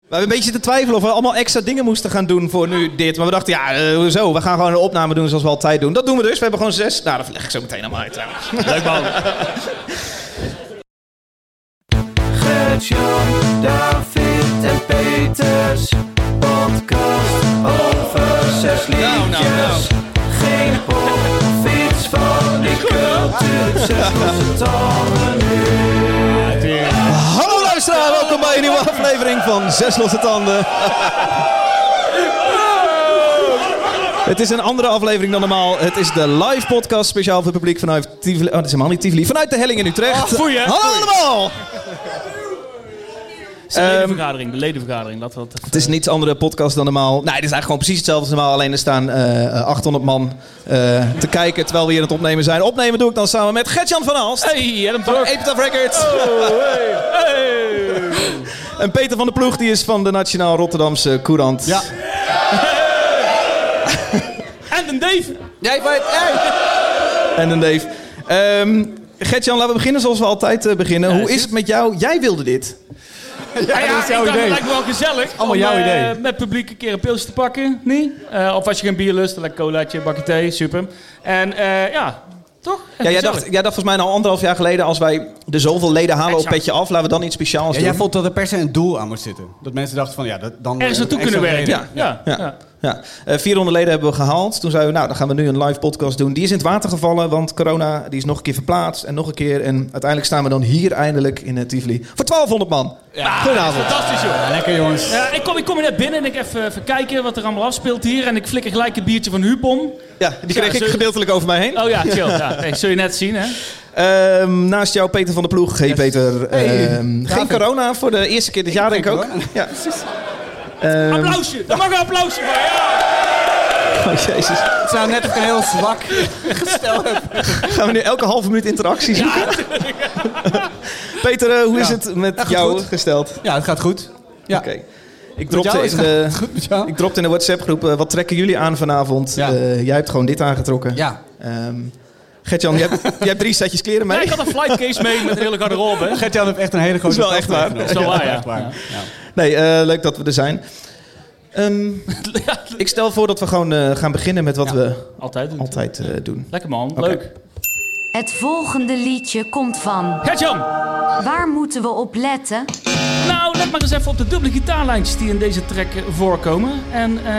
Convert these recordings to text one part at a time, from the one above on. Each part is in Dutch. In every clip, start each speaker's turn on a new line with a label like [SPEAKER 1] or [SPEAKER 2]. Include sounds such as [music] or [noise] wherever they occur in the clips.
[SPEAKER 1] We hebben een beetje te twijfelen of we allemaal extra dingen moesten gaan doen voor nu dit. Maar we dachten, ja, eh, zo, we gaan gewoon een opname doen zoals we altijd doen. Dat doen we dus. We hebben gewoon zes. Nou, dat leg ik zo meteen allemaal uit trouwens.
[SPEAKER 2] Leuk man.
[SPEAKER 3] Gert-Jan, David en Peters. Podcast over zes liedjes.
[SPEAKER 1] Nou, nou, nou.
[SPEAKER 3] Geen pop, fiets van, ik kult het. Zes losse tanden nu.
[SPEAKER 1] Hallo luisteraar, welkom bij een nieuwe aflevering van Zes Losse Tanden. Het is een andere aflevering dan normaal. Het is de live podcast speciaal voor het publiek vanuit Tivoli. Oh, dat is helemaal niet Tivoli. Vanuit de Helling in Utrecht.
[SPEAKER 2] Ah, foei, hè?
[SPEAKER 1] Hallo
[SPEAKER 2] Foei.
[SPEAKER 1] allemaal!
[SPEAKER 2] Het is De ledenvergadering, de ledenvergadering. Laten we dat
[SPEAKER 1] Het is een iets andere podcast dan normaal. Nee, het is eigenlijk gewoon precies hetzelfde als normaal. Alleen er staan eh, eh, 800 man eh, te kijken terwijl we hier aan het opnemen zijn. Opnemen doe ik dan samen met Gertjan van Aalst.
[SPEAKER 2] Hey, Adam
[SPEAKER 1] Van
[SPEAKER 2] Torp.
[SPEAKER 1] Epitaph Records.
[SPEAKER 2] Hey.
[SPEAKER 1] En Peter van der Ploeg, die is van de Nationaal Rotterdamse Courant.
[SPEAKER 4] Ja.
[SPEAKER 2] En een Dave.
[SPEAKER 4] Jij bent echt.
[SPEAKER 1] En een Dave. Ehm Gertjan, laten we beginnen zoals we altijd eh, beginnen. Hoe is het met jou? Jij wilde dit.
[SPEAKER 2] Ja, Ah ja,
[SPEAKER 4] dat is jouw
[SPEAKER 2] ik dacht,
[SPEAKER 4] idee.
[SPEAKER 2] Het lijkt me wel gezellig.
[SPEAKER 4] Allemaal
[SPEAKER 2] om,
[SPEAKER 4] jouw
[SPEAKER 2] eh,
[SPEAKER 4] idee.
[SPEAKER 2] met publiek een keer een pilsje te pakken. Nee? Eh, of als je geen bier lust, dan lekker colaatje, bakje thee. Super. En eh, ja, toch?
[SPEAKER 1] Ja, jij,
[SPEAKER 2] Gezellig.
[SPEAKER 1] dacht, jij dacht volgens mij al anderhalf jaar geleden... als wij de zoveel leden halen op
[SPEAKER 2] Exact.
[SPEAKER 1] Petje Af... laten we dan iets speciaals
[SPEAKER 4] Ja,
[SPEAKER 1] doen.
[SPEAKER 4] jij vond dat er per se een doel aan moest zitten. Dat mensen dachten van, ja, dat, dan... eh,
[SPEAKER 2] Ergens naartoe
[SPEAKER 4] extra
[SPEAKER 2] kunnen werken.
[SPEAKER 4] reden.
[SPEAKER 2] Ja, ja,
[SPEAKER 1] Ja.
[SPEAKER 2] ja.
[SPEAKER 1] Ja, Eh 400 leden hebben we gehaald. Toen zeiden we, nou, dan gaan we nu een live podcast doen. Die is in het water gevallen, want corona die is nog een keer verplaatst. En nog een keer. En uiteindelijk staan we dan hier eindelijk in het Tivoli. Voor 1200 man.
[SPEAKER 2] Ah,
[SPEAKER 1] Goedenavond.
[SPEAKER 2] Fantastisch, joh.
[SPEAKER 4] Ja, Ah, lekker jongens.
[SPEAKER 2] Ja, ik, kom, ik kom hier net binnen en ik even, even kijken wat er allemaal afspeelt hier. En ik flikker gelijk een biertje van Hupon.
[SPEAKER 1] Ja, die kreeg
[SPEAKER 2] Ja,
[SPEAKER 1] ik
[SPEAKER 2] zo-
[SPEAKER 1] gedeeltelijk over mij heen.
[SPEAKER 2] Oh ja, chill. Ja. Nee, zul je net zien, hè?
[SPEAKER 1] Ehm, naast jou Peter van der Ploeg. Hey Peter.
[SPEAKER 4] Hey,
[SPEAKER 1] Ehm, geen
[SPEAKER 4] David.
[SPEAKER 1] corona voor de eerste keer dit jaar denk
[SPEAKER 4] geen
[SPEAKER 1] ik ook.
[SPEAKER 4] corona.
[SPEAKER 1] Ja. Ehm,
[SPEAKER 2] Applausje. Daar mag een applausje voor.
[SPEAKER 1] [laughs]
[SPEAKER 2] Ja.
[SPEAKER 1] oh, jezus.
[SPEAKER 4] Het zou net of ik een heel zwak gestel heb.
[SPEAKER 1] Gaan we nu elke halve minuut interactie zoeken? [laughs] Peter, eh, hoe is
[SPEAKER 4] Ja.
[SPEAKER 1] het met
[SPEAKER 4] Ja, goed,
[SPEAKER 1] jou
[SPEAKER 4] goed.
[SPEAKER 1] gesteld?
[SPEAKER 4] Ja, het gaat goed. Ja.
[SPEAKER 1] Oké. Ik
[SPEAKER 4] Met
[SPEAKER 1] dropte
[SPEAKER 4] jou is
[SPEAKER 1] in
[SPEAKER 4] het
[SPEAKER 1] de...
[SPEAKER 4] [laughs] goed met jou?
[SPEAKER 1] Ik dropte in de WhatsApp-groep, eh, wat trekken jullie aan vanavond?
[SPEAKER 4] Ja.
[SPEAKER 1] Eh, jij hebt gewoon dit aangetrokken.
[SPEAKER 4] Ja.
[SPEAKER 1] Ehm, Gert-Jan, jij, hebt- jij hebt drie setjes kleren mee.
[SPEAKER 2] Ja, ik had een flightcase mee met een hele garderobe,
[SPEAKER 4] [laughs]
[SPEAKER 2] hè?
[SPEAKER 4] Gert-Jan heeft echt een hele grote...
[SPEAKER 1] Dat is wel
[SPEAKER 4] tas
[SPEAKER 1] echt waar.
[SPEAKER 4] meegenomen.
[SPEAKER 2] Dat is wel waar,
[SPEAKER 4] Ja,
[SPEAKER 2] ja.
[SPEAKER 4] echt Ja.
[SPEAKER 1] Nee, eh, leuk dat we er zijn. Ehm, ik stel voor dat we gewoon eh, gaan beginnen met wat
[SPEAKER 4] Ja.
[SPEAKER 1] we
[SPEAKER 2] Altijd doen.
[SPEAKER 1] altijd eh, doen.
[SPEAKER 2] Lekker man,
[SPEAKER 1] Oké.
[SPEAKER 2] leuk.
[SPEAKER 5] Het volgende liedje komt van.
[SPEAKER 2] Gertjan,
[SPEAKER 5] Waar moeten we op letten?
[SPEAKER 2] nou let maar eens even op de dubbele gitaarlijntjes die in deze track eh, voorkomen. En eh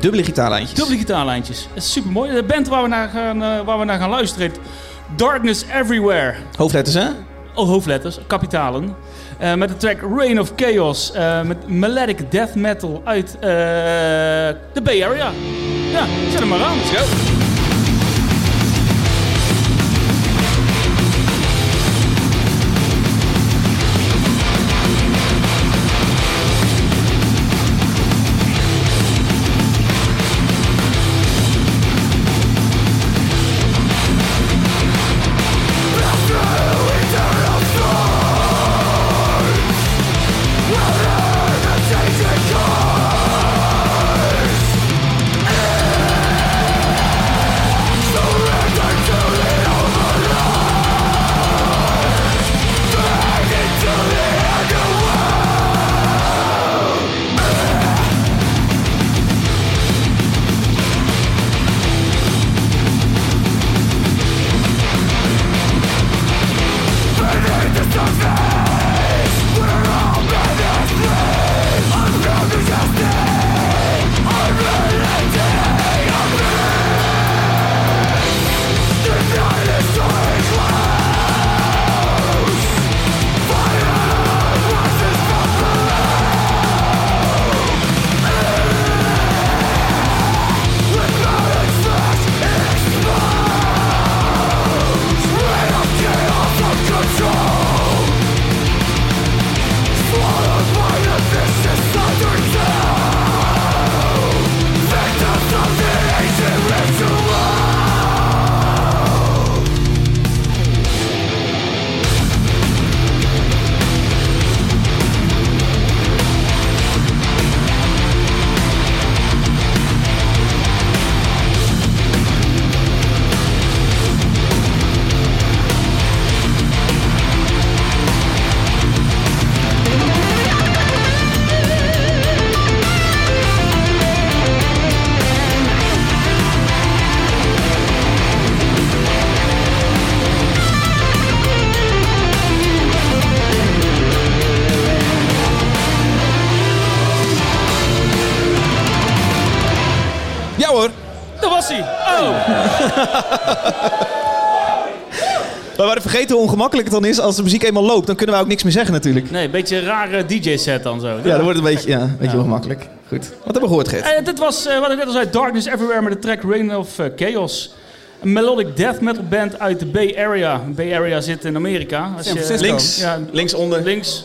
[SPEAKER 1] Dubbele gitaarlijntjes.
[SPEAKER 2] dubbele gitaarlijntjes. Dat is super mooi. De band waar we naar gaan, eh, waar we naar gaan luisteren heet Darkness Everywhere.
[SPEAKER 1] Hoofdletters, hè?
[SPEAKER 2] Oh, hoofdletters, kapitalen. Eh, met de track Rain of Chaos. eh, met melodic death metal uit eh, de Bay Area. Ja, zet hem maar aan. Rossi. Oh,
[SPEAKER 1] We waren vergeten hoe ongemakkelijk het dan is als de muziek eenmaal loopt. Dan kunnen wij ook niks meer zeggen natuurlijk.
[SPEAKER 2] nee, een beetje een rare DJ-set dan zo.
[SPEAKER 1] Ja, dan wordt het een beetje, ja, een beetje ongemakkelijk. Goed. Wat hebben we gehoord, Gert?
[SPEAKER 2] Eh, dit was eh, wat ik net al zei, Darkness Everywhere met de track Rain of eh, Chaos. Een melodic death metal band uit de Bay Area. Bay Area zit in Amerika. Als
[SPEAKER 4] San Francisco.
[SPEAKER 1] Links,
[SPEAKER 2] Ja,
[SPEAKER 1] linksonder.
[SPEAKER 2] links.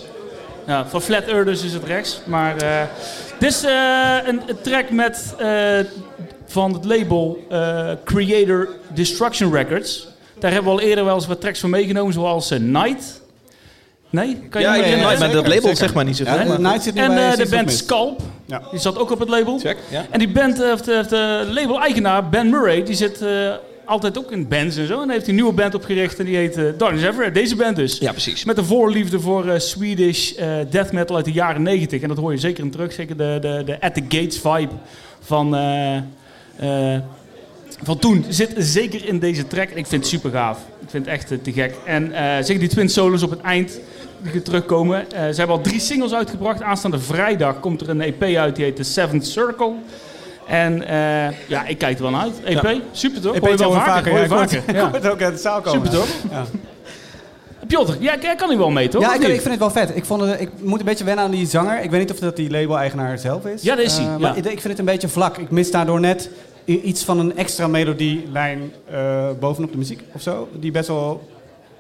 [SPEAKER 2] Ja, voor Flat Earthers is het rechts. Maar eh, dit is eh, een, een track met, eh, van het label eh, Creator Destruction Records. Daar hebben we al eerder wel eens wat tracks van meegenomen, zoals eh, Night. Nee? Kan je
[SPEAKER 1] Ja,
[SPEAKER 2] me
[SPEAKER 1] ja, ja,
[SPEAKER 2] die herinneren?
[SPEAKER 1] maar dat
[SPEAKER 4] Zeker,
[SPEAKER 1] label
[SPEAKER 4] zeker.
[SPEAKER 1] zeg maar niet zoveel.
[SPEAKER 4] Ja,
[SPEAKER 1] maar
[SPEAKER 4] Night
[SPEAKER 1] goed.
[SPEAKER 4] zit niet
[SPEAKER 2] En
[SPEAKER 4] bij,
[SPEAKER 2] eh,
[SPEAKER 4] is
[SPEAKER 2] de
[SPEAKER 4] iets wat
[SPEAKER 2] band
[SPEAKER 4] mis.
[SPEAKER 2] Scalp,
[SPEAKER 4] Ja.
[SPEAKER 2] die zat ook op het label.
[SPEAKER 1] Check, ja.
[SPEAKER 2] En die band, eh, of de, of de label-eigenaar Ben Murray, die zit eh, altijd ook in bands en zo. En hij heeft een nieuwe band opgericht en die heet eh, Darkness Everywhere. Deze band dus.
[SPEAKER 1] Ja, precies.
[SPEAKER 2] Met een voorliefde voor eh, Swedish eh, death metal uit de jaren 90. En dat hoor je zeker in terug. Zeker de, de, de At the Gates vibe van, eh, eh, van toen zit zeker in deze track. En ik vind het super gaaf. Ik vind het echt eh, te gek. En eh, zeker die twin solos op het eind die er terugkomen. Eh, ze hebben al drie singles uitgebracht. Aanstaande vrijdag komt er een EP uit. Die heet The Seventh Circle. En eh, ja, ik kijk er wel naar uit. EP, super toch?
[SPEAKER 4] Ik
[SPEAKER 2] Hoor je
[SPEAKER 4] weet
[SPEAKER 2] wel
[SPEAKER 4] wel
[SPEAKER 2] vaker. hoor je
[SPEAKER 4] ja, ik
[SPEAKER 2] vaker. [laughs]
[SPEAKER 4] [laughs] hoor- ik hoor het ook uit de zaal komen.
[SPEAKER 2] Super toch?
[SPEAKER 4] Ja.
[SPEAKER 2] Eh, Piotr, jij jij kan hier wel mee toch?
[SPEAKER 4] Ja,
[SPEAKER 2] Of
[SPEAKER 4] ik,
[SPEAKER 2] niet?
[SPEAKER 4] ik vind het wel vet. Ik, vond het, ik moet een beetje wennen aan die zanger. Ik weet niet of dat die label-eigenaar zelf is.
[SPEAKER 2] Ja, dat is hij,
[SPEAKER 4] Eh,
[SPEAKER 2] ja.
[SPEAKER 4] Maar ik, ik vind het een beetje vlak. Ik mis daardoor net i- iets van een extra melodielijn eh, bovenop de muziek of zo. Die best wel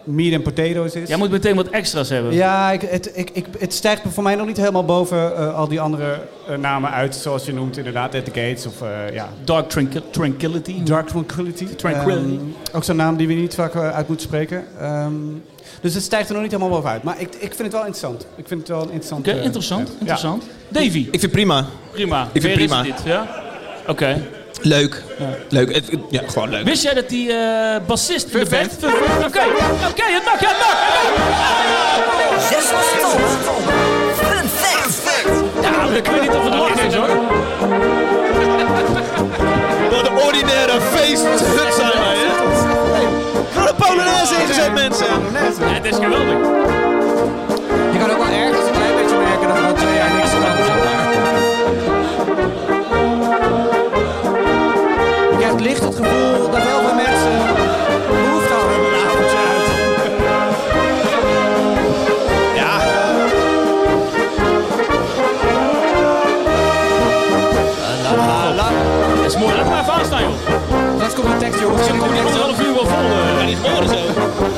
[SPEAKER 4] meat and potatoes is.
[SPEAKER 2] Jij moet meteen wat extra's hebben.
[SPEAKER 4] Ja, ik, het, ik, ik, het stijgt voor mij nog niet helemaal boven eh, al die andere eh, namen uit. Zoals je noemt, inderdaad, At the Gates of eh, ja,
[SPEAKER 2] Dark Tranqui- Tranquility.
[SPEAKER 4] Dark Tranquility.
[SPEAKER 2] Tranquility.
[SPEAKER 4] Ehm, ook zo'n naam die we niet vaak eh, uit moeten spreken. Ehm, dus het stijgt er nog niet helemaal bovenuit. Maar ik, ik vind het wel interessant. Ik vind het wel een interessant.
[SPEAKER 2] Oké,
[SPEAKER 4] eh,
[SPEAKER 2] interessant.
[SPEAKER 4] ja.
[SPEAKER 2] interessant. Davy,
[SPEAKER 1] Ik vind het prima.
[SPEAKER 2] prima.
[SPEAKER 1] vind
[SPEAKER 2] Weer
[SPEAKER 1] prima.
[SPEAKER 2] Is het dit, ja? Oké.
[SPEAKER 1] Leuk. Leuk. Het- het- Ja, gewoon leuk.
[SPEAKER 2] Wist jij dat die eh, bassist van de band... Vervet. Oké, oké, het mag, het mag. Nou, ik weet niet of het lachen is hoor.
[SPEAKER 1] Wat een ordinaire feest zijn wij, hè? Voor de Polonaise ingezet, mensen.
[SPEAKER 2] Ja, het is geweldig.
[SPEAKER 4] Je kan ook wel ergens een klein beetje merken dat er al twee jaar niks gedaan is. Je krijgt licht het gevoel dat heel veel mensen behoefte aan hebben aan een avondje uit.
[SPEAKER 2] Dat is mooi. Laat maar even aanstaan joh.
[SPEAKER 4] Straks komt een tekst, jongens.
[SPEAKER 2] Dan kom je een half uur wel vol. eh.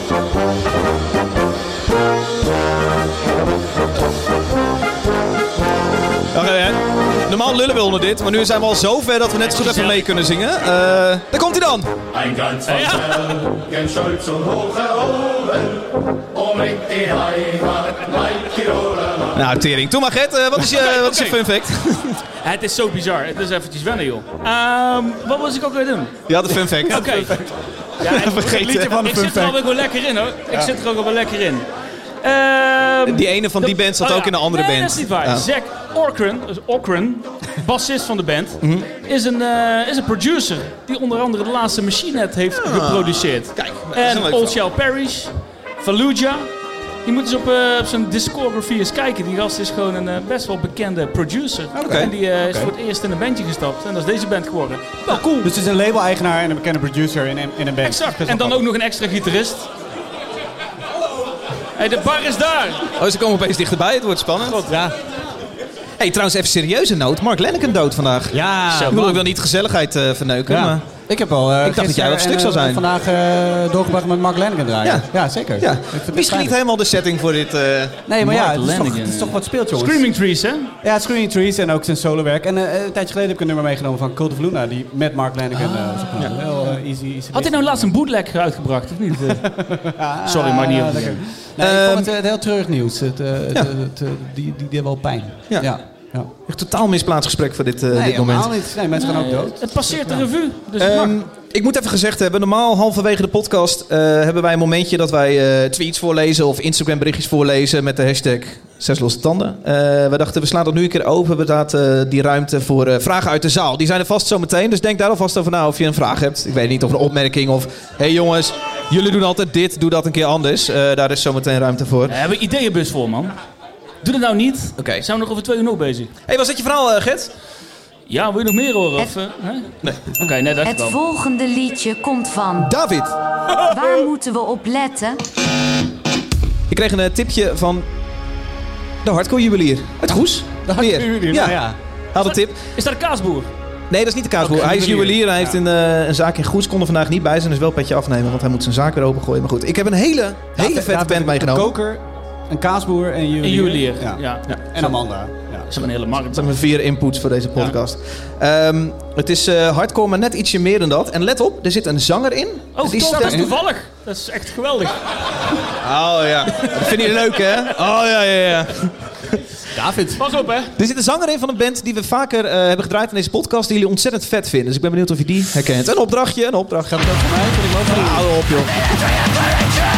[SPEAKER 1] Wacht even, hè. Normaal lullen we onder dit, maar nu zijn we al zo ver dat we net zo goed even mee kunnen zingen. Eh, daar komt hij dan.
[SPEAKER 6] Ein ganz Hotel, ganz stolz und hoch erhoben, umringt die Heimat, mein Tiroler Land.
[SPEAKER 1] Nou, tering. Toen maar, Gert. eh, wat is je, wat is je
[SPEAKER 2] Oké.
[SPEAKER 1] fun fact?
[SPEAKER 2] Het is zo bizar. Het is eventjes wennen joh. Ehm, wat was ik ook weer doen?
[SPEAKER 1] Je had een fun fact.
[SPEAKER 2] Oké. Ja, ik-
[SPEAKER 1] Vergeet
[SPEAKER 2] ik liet-
[SPEAKER 1] het van de
[SPEAKER 2] Ik zit er
[SPEAKER 1] funfact.
[SPEAKER 2] alweer wel lekker in hoor. Ik zit er ook al wel lekker in. Ehm,
[SPEAKER 1] Die ene van die
[SPEAKER 2] dat-
[SPEAKER 1] band zat
[SPEAKER 2] oh,
[SPEAKER 1] ook in een andere
[SPEAKER 2] nee,
[SPEAKER 1] band.
[SPEAKER 2] dat is niet waar.
[SPEAKER 1] Ja.
[SPEAKER 2] Zack Orkren, dus Orkren, bassist van de
[SPEAKER 1] [laughs]
[SPEAKER 2] band,
[SPEAKER 1] Mhm.
[SPEAKER 2] is, een, eh, is een producer die onder andere de laatste Machine Head heeft geproduceerd.
[SPEAKER 1] Ah. Kijk, dat is een
[SPEAKER 2] En
[SPEAKER 1] leuk
[SPEAKER 2] Old
[SPEAKER 1] verhaal.
[SPEAKER 2] Shell Parrish, Fallujah. Je moet eens op, eh, op zijn discografie eens kijken. Die gast is gewoon een eh, best wel bekende producer.
[SPEAKER 1] Oké.
[SPEAKER 2] En die eh, is
[SPEAKER 1] Oké.
[SPEAKER 2] voor het eerst in een bandje gestapt. En dat is deze band geworden. Wel Nou, cool.
[SPEAKER 4] Dus het is een label-eigenaar en een bekende producer in, een- in een band.
[SPEAKER 2] Exact. En dan ook nog een extra gitarist. Hey, de bar is daar.
[SPEAKER 1] Oh, ze komen opeens dichterbij. Het wordt spannend. ja. hey, trouwens, even serieuze noot. Mark Lenneken dood vandaag.
[SPEAKER 4] Ja,
[SPEAKER 1] Ik bedoel, ik wil niet gezelligheid eh, verneuken, maar...
[SPEAKER 4] Ik heb al. eh,
[SPEAKER 1] Ik dacht dat jij wat stuk zou zijn.
[SPEAKER 4] vandaag eh, doorgebracht met Mark Lennigan draaien.
[SPEAKER 1] Ja.
[SPEAKER 4] Ja, zeker.
[SPEAKER 1] Ja,
[SPEAKER 4] Ik vind het
[SPEAKER 1] misschien niet
[SPEAKER 4] fijn.
[SPEAKER 1] helemaal de setting voor dit... eh,
[SPEAKER 4] Nee, maar ja,
[SPEAKER 2] Mark
[SPEAKER 4] het is, toch,
[SPEAKER 2] Lennigan,
[SPEAKER 4] het is
[SPEAKER 2] ja.
[SPEAKER 4] toch wat speelt, jongens.
[SPEAKER 2] Screaming Trees, hè?
[SPEAKER 4] Ja, Screaming Trees en ook zijn solowerk. En eh, een tijdje geleden heb ik een nummer meegenomen van Cult of Luna, die met Mark Lennigan
[SPEAKER 1] Ah.
[SPEAKER 4] eh, is opgenomen. Heel eh, easy, easy.
[SPEAKER 2] Had hij nou laatst een bootleg uitgebracht, of niet? eh?
[SPEAKER 1] [laughs]
[SPEAKER 4] Ah,
[SPEAKER 2] Sorry, maar niet
[SPEAKER 4] lekker.
[SPEAKER 2] opgenomen.
[SPEAKER 4] Nee, ik
[SPEAKER 1] Ehm,
[SPEAKER 4] vond het, eh, heel treurig nieuws. Het, eh, het, eh, het, eh, die, die deed wel pijn.
[SPEAKER 1] Ja.
[SPEAKER 4] ja. ja.
[SPEAKER 1] Echt totaal misplaatst gesprek voor dit, eh, dit moment.
[SPEAKER 4] helemaal niet. Nee, mensen gaan ook dood.
[SPEAKER 2] Het passeert de revue, dus het
[SPEAKER 1] Ehm,
[SPEAKER 2] mag.
[SPEAKER 1] ik moet even gezegd hebben, normaal halverwege de podcast eh, hebben wij een momentje dat wij eh, tweets voorlezen of Instagram berichtjes voorlezen met de hashtag zes losse tanden. Eh, we dachten we slaan dat nu een keer open, we laten die ruimte voor eh, vragen uit de zaal. Die zijn er vast zo meteen, dus denk daar alvast over na of je een vraag hebt. Ik weet niet of een opmerking of, hey jongens, jullie doen altijd dit, doe dat een keer anders. Eh, daar is zo meteen ruimte voor.
[SPEAKER 2] We hebben ideeënbus voor, man. Doe dat nou niet.
[SPEAKER 1] Oké.
[SPEAKER 2] Zijn we nog over twee uur nog bezig?
[SPEAKER 1] hey, was dat je verhaal, eh, Gert?
[SPEAKER 2] Ja, wil je nog meer horen? Of,
[SPEAKER 5] Het-
[SPEAKER 2] eh, hè? Oké, net dacht ik
[SPEAKER 5] Het
[SPEAKER 2] wel.
[SPEAKER 5] volgende liedje komt van.
[SPEAKER 1] David,
[SPEAKER 5] Waar moeten we op letten?
[SPEAKER 1] ik kreeg een eh, tipje van de hardcore juwelier. Het Goes. De
[SPEAKER 7] Jullie, nou Ja. ja.
[SPEAKER 1] Had een tip.
[SPEAKER 2] Is dat een kaasboer?
[SPEAKER 1] Nee, dat is niet de kaasboer.
[SPEAKER 7] Oké,
[SPEAKER 1] hij is
[SPEAKER 7] juwelier.
[SPEAKER 1] juwelier. Hij heeft een, eh, een zaak in Goes. Kon er vandaag niet bij zijn. Dus wel een petje afnemen. Want hij moet zijn zaak weer opengooien. Maar goed, ik heb een hele, hele vette
[SPEAKER 4] David,
[SPEAKER 1] band meegenomen.
[SPEAKER 4] Een koker, een kaasboer en
[SPEAKER 2] Een
[SPEAKER 4] juwelier.
[SPEAKER 2] juwelier. Ja.
[SPEAKER 4] Ja. En Amanda. Ja.
[SPEAKER 2] Dat is gewoon een hele markt.
[SPEAKER 1] Dat zijn mijn vier inputs voor deze podcast. Ehm, het is eh, hardcore, maar net ietsje meer dan dat. En let op, er zit een zanger in.
[SPEAKER 2] Oh,
[SPEAKER 1] Die
[SPEAKER 2] toch,
[SPEAKER 1] stem-
[SPEAKER 2] dat is toevallig. Dat is echt geweldig.
[SPEAKER 1] Oh ja. Dat vind je leuk, hè? Oh ja, ja, ja.
[SPEAKER 7] David.
[SPEAKER 2] Pas op, hè.
[SPEAKER 1] Er zit een zanger in van een band die we vaker eh, hebben gedraaid in deze podcast. Die jullie ontzettend vet vinden. Dus ik ben benieuwd of je die herkent. Een opdrachtje, een opdracht. Gaat het ook voor mij? Vind ik wel ja, hou op, joh.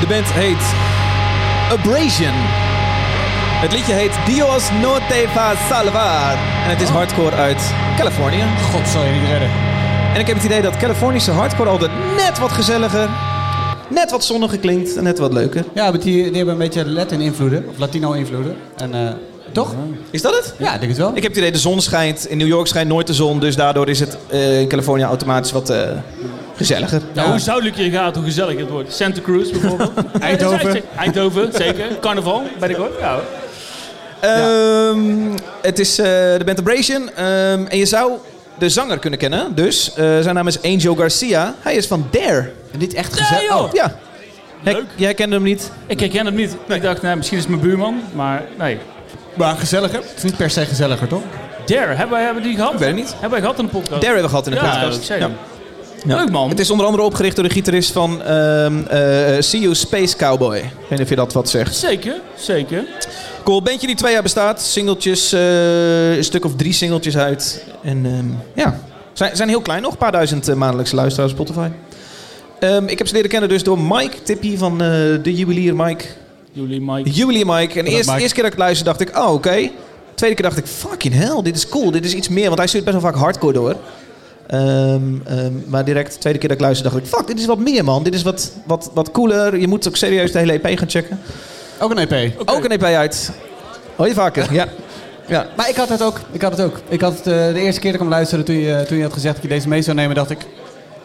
[SPEAKER 1] De band heet Abrasion. Het liedje heet Dios no te va salvar. En het is hardcore uit Californië.
[SPEAKER 4] God zal je niet redden.
[SPEAKER 1] En ik heb het idee dat Californische hardcore altijd net wat gezelliger, net wat zonniger klinkt en net wat leuker.
[SPEAKER 4] Ja, maar die, die hebben een beetje Latin-invloeden, of Latino-invloeden. En, eh, toch?
[SPEAKER 1] Is dat het?
[SPEAKER 4] Ja, ik denk het wel.
[SPEAKER 1] Ik heb het idee, de zon schijnt. In New York schijnt nooit de zon. Dus daardoor is het eh, in Californië automatisch wat eh, gezelliger.
[SPEAKER 2] Nou, hoe zuidelijker je gaat, hoe gezelliger het wordt. Santa Cruz bijvoorbeeld.
[SPEAKER 4] Eindhoven.
[SPEAKER 2] Eindhoven, zeker. Carnaval, ben ik hoor. Ja, hoor.
[SPEAKER 1] Ehm, het is eh, de band Abrasion. Ehm, en je zou de zanger kunnen kennen. Dus eh, zijn naam is Angel Garcia. Hij is van Dare.
[SPEAKER 7] Niet echt
[SPEAKER 2] Nee,
[SPEAKER 7] gezellig.
[SPEAKER 2] joh.
[SPEAKER 1] oh, Ja. Jij- Jij kende hem niet.
[SPEAKER 2] Ik herken het niet. Ik dacht, nou, misschien is het mijn buurman, maar nee.
[SPEAKER 7] maar gezelliger. Het is niet per se gezelliger, toch?
[SPEAKER 2] Dare, hebben wij hebben die gehad? Ik
[SPEAKER 1] weet het niet.
[SPEAKER 2] Hebben wij gehad in de podcast?
[SPEAKER 1] Dare hebben we gehad in de
[SPEAKER 2] ja,
[SPEAKER 1] podcast.
[SPEAKER 2] dat zei
[SPEAKER 1] Ja.
[SPEAKER 2] je. Leuk man.
[SPEAKER 1] Het is onder andere opgericht door de gitarist van ehm eh, See You Space Cowboy. Ik weet niet of je dat wat zegt.
[SPEAKER 2] Zeker, zeker.
[SPEAKER 1] Cool, bandje die twee jaar bestaat. Singeltjes, eh, een stuk of drie singeltjes uit. En ehm, ja, zijn, zijn heel klein nog. Een paar duizend eh, maandelijkse luisteraars op Spotify. Ehm, ik heb ze leren kennen dus door Mike Tippie van eh, de juwelier Mike.
[SPEAKER 2] Jullie,
[SPEAKER 1] De
[SPEAKER 2] Mike.
[SPEAKER 1] juwelier Mike. En eerst,
[SPEAKER 4] Mike.
[SPEAKER 1] eerste keer dat ik luisterde dacht ik, oh oké. Tweede keer dacht ik, fucking hell, dit is cool. Dit is iets meer, want hij stuurt best wel vaak hardcore door. Ehm, ehm, maar direct de tweede keer dat ik luisterde dacht ik, fuck, dit is wat meer man. Dit is wat, wat, wat cooler. Je moet ook serieus de hele EP E gaan checken.
[SPEAKER 4] Ook een E EP.
[SPEAKER 1] Ook een EP uit. Hoor je vaker? Ja. ja.
[SPEAKER 4] Maar ik had het ook. Ik had het ook. Ik had het, eh, de eerste keer dat ik hem luisterde, toen je, eh, toen je had gezegd dat je deze mee zou nemen, dacht ik...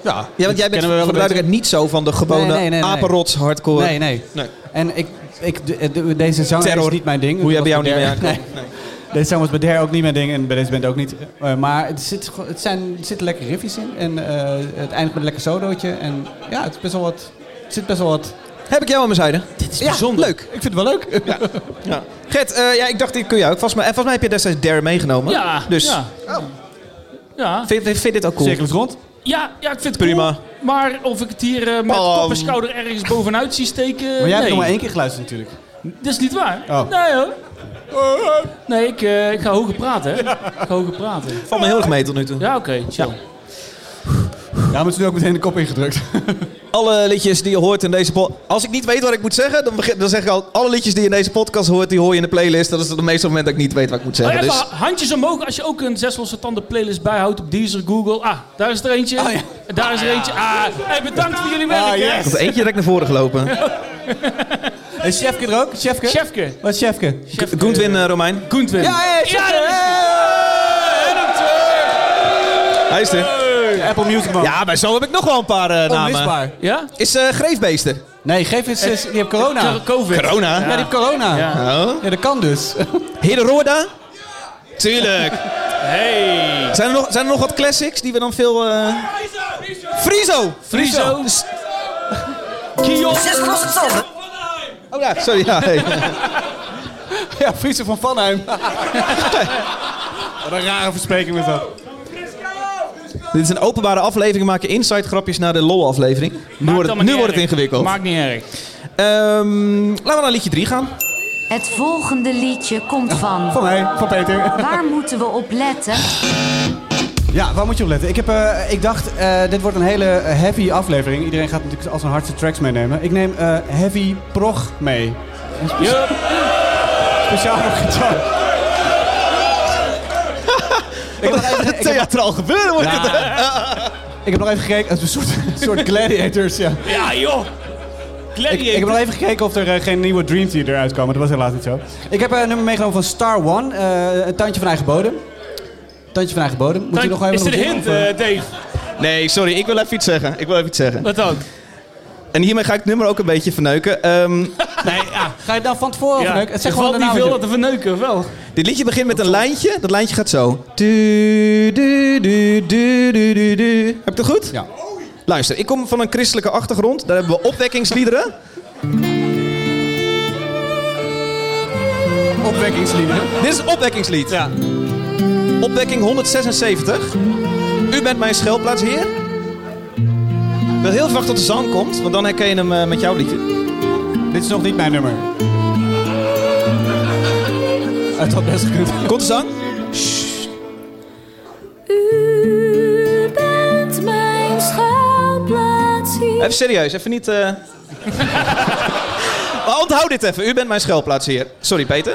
[SPEAKER 4] Ja,
[SPEAKER 1] Ja, want jij bent
[SPEAKER 4] kennen
[SPEAKER 1] voor de
[SPEAKER 4] we wel een beetje.
[SPEAKER 1] duidelijkheid niet zo van de gewone
[SPEAKER 4] Nee, nee, nee, nee.
[SPEAKER 1] apenrots hardcore.
[SPEAKER 4] Nee, nee.
[SPEAKER 1] Nee.
[SPEAKER 4] En ik, ik, de- de- deze zanger
[SPEAKER 1] Terror.
[SPEAKER 4] is niet mijn ding.
[SPEAKER 1] Hoe jij bij jou
[SPEAKER 4] Dat
[SPEAKER 1] niet
[SPEAKER 4] was
[SPEAKER 1] mee
[SPEAKER 4] bij
[SPEAKER 1] aankomt.
[SPEAKER 4] der- Nee. [laughs] Deze zanger was bij der ook niet mijn ding en bij deze band ook niet. Eh, maar het, zit, gewoon- het, zijn, er zitten lekker riffjes in en eh, het eindigt met een lekker solootje. En ja, het, is best wel wat, het zit best wel wat...
[SPEAKER 1] Heb ik jou aan mijn zijde? Dit is
[SPEAKER 4] bijzonder.
[SPEAKER 1] Leuk.
[SPEAKER 4] Ik vind het wel leuk.
[SPEAKER 1] [laughs] Ja. Gert, eh, ja, ik dacht, ik kun jou ook vast. Maar en volgens mij heb je destijds Dare meegenomen.
[SPEAKER 2] Ja,
[SPEAKER 1] Dus
[SPEAKER 2] ja. Ja.
[SPEAKER 1] Vind, vind je dit ook cool?
[SPEAKER 4] Cirkel is rond.
[SPEAKER 2] ja, ja, ik vind het
[SPEAKER 1] Prima.
[SPEAKER 2] cool, maar of ik het hier eh, met
[SPEAKER 1] Oh.
[SPEAKER 2] kop en schouder ergens bovenuit zie steken,
[SPEAKER 4] Maar jij hebt
[SPEAKER 2] nee.
[SPEAKER 4] nog maar één keer geluisterd natuurlijk.
[SPEAKER 2] Dat is niet waar.
[SPEAKER 4] Oh.
[SPEAKER 2] Nee hoor. Nee, ik, eh, ik ga hoger praten. hè. Ik ga hoger praten.
[SPEAKER 1] Valt me heel erg mee tot nu toe.
[SPEAKER 2] Ja, oké, chill. Oh,
[SPEAKER 4] Ja, maar het is nu ook meteen de kop ingedrukt.
[SPEAKER 1] Alle liedjes die je hoort in deze podcast. Als ik niet weet wat ik moet zeggen, dan, begin, dan zeg ik al. Alle liedjes die je in deze podcast hoort, die hoor je in de playlist. Dat is het meeste moment dat ik niet weet wat ik moet
[SPEAKER 2] Oh,
[SPEAKER 1] zeggen.
[SPEAKER 2] even
[SPEAKER 1] Dus
[SPEAKER 2] handjes omhoog als je ook een Zes Losse Tanden playlist bijhoudt op Deezer, Google. Ah, daar is er eentje.
[SPEAKER 4] Oh, ja.
[SPEAKER 2] En Daar is er eentje. Ah, hey, bedankt voor jullie werk,
[SPEAKER 4] Ah,
[SPEAKER 2] hè.
[SPEAKER 4] yes.
[SPEAKER 1] er is eentje direct naar voren gelopen.
[SPEAKER 4] En Sjefke er ook? Sjefke?
[SPEAKER 2] Chefke.
[SPEAKER 4] Wat is Sjefke?
[SPEAKER 2] Chefke.
[SPEAKER 1] Goentwin eh, Romein.
[SPEAKER 2] Goentwin.
[SPEAKER 4] Ja, hey, Sjefke!
[SPEAKER 2] dat
[SPEAKER 1] Hij is er.
[SPEAKER 4] Hey! Apple Music [laughs] Man.
[SPEAKER 1] Ja, maar zo heb ik nog wel een paar eh, namen.
[SPEAKER 4] Onmisbaar.
[SPEAKER 2] Ja?
[SPEAKER 1] Is eh, Greefbeesten.
[SPEAKER 4] Nee, geef eens... eens- Die heeft Nou. corona. Ja,
[SPEAKER 2] Covid.
[SPEAKER 1] Corona.
[SPEAKER 4] die heeft corona. Ja.
[SPEAKER 1] Oh.
[SPEAKER 4] dat kan dus.
[SPEAKER 1] Herenroorda? Tuurlijk.
[SPEAKER 2] Hey.
[SPEAKER 1] Zijn er, nog, zijn er nog wat classics die we dan veel... eh Frizo!
[SPEAKER 2] Frizo.
[SPEAKER 1] Dus-
[SPEAKER 2] Kion.
[SPEAKER 1] Oh ja, sorry. Ja, hey.
[SPEAKER 4] ja, Friese van Vanheim. Wat een rare verspreking is dat.
[SPEAKER 1] Dit is een openbare aflevering. We maken inside grapjes naar de LOL-aflevering. Nu, wordt het,
[SPEAKER 2] allemaal
[SPEAKER 1] nu
[SPEAKER 2] niet
[SPEAKER 1] wordt het
[SPEAKER 2] erg.
[SPEAKER 1] ingewikkeld.
[SPEAKER 2] Maakt niet erg.
[SPEAKER 1] Ehm, laten we naar liedje 3 gaan.
[SPEAKER 8] Het volgende liedje komt van.
[SPEAKER 4] Van mij, van Peter.
[SPEAKER 8] Waar moeten we op letten?
[SPEAKER 4] Ja, waar moet je op letten? Ik, heb, eh, ik dacht, eh, dit wordt een hele heavy aflevering. Iedereen gaat natuurlijk als een hardste tracks meenemen. Ik neem eh, heavy prog mee. Een spe- Speciaal voor gitaar. Ik heb, nog even, ik, heb,
[SPEAKER 1] Theatraal gebeuren wordt het.
[SPEAKER 4] ik heb nog even gekeken. Het is een soort, een soort gladiators, ja.
[SPEAKER 2] Ja, joh.
[SPEAKER 4] Ik, ik heb nog even gekeken of er eh, geen nieuwe Dream Theater uitkomen. Dat was helaas niet zo. Ik heb eh, een nummer meegenomen van Star One. eh, een tandje van eigen bodem. Tandje van eigen bodem. Moet je nog even
[SPEAKER 2] Is dit
[SPEAKER 4] nog
[SPEAKER 2] een
[SPEAKER 4] doen,
[SPEAKER 2] hint,
[SPEAKER 4] of, eh?
[SPEAKER 2] eh, Dave?
[SPEAKER 1] Nee, sorry. Ik wil even iets zeggen. Ik wil even iets zeggen.
[SPEAKER 2] Wat dan?
[SPEAKER 1] En hiermee ga ik het nummer ook een beetje verneuken. Ehm,
[SPEAKER 2] Nee, ja.
[SPEAKER 4] Ga je het dan van tevoren
[SPEAKER 2] Ja.
[SPEAKER 4] ja. Het
[SPEAKER 2] er
[SPEAKER 4] zeg gewoon
[SPEAKER 2] valt
[SPEAKER 4] de
[SPEAKER 2] niet
[SPEAKER 4] naam.
[SPEAKER 2] veel aan te verneuken, of wel?
[SPEAKER 1] dit liedje begint met een lijntje. Dat lijntje gaat zo. Du, du, du, du, du, du, du. Heb ik het goed?
[SPEAKER 4] Ja.
[SPEAKER 1] Luister, ik kom van een christelijke achtergrond. Daar hebben we opwekkingsliederen. [laughs]
[SPEAKER 4] Opwekkingsliederen.
[SPEAKER 1] Dit is een opwekkingslied.
[SPEAKER 4] Ja.
[SPEAKER 1] Opwekking 176. U bent mijn schuilplaats, heer. Ik wil heel even wachten tot de zang komt, want dan herken je hem eh, met jouw liedje.
[SPEAKER 4] Dit is nog niet mijn nummer. Het had best gekund.
[SPEAKER 1] Komt de zang?
[SPEAKER 5] U bent mijn schuilplaats hier.
[SPEAKER 1] Even serieus, even niet... eh. [laughs] maar onthoud dit even. U bent mijn schuilplaats, heer. Sorry, Peter.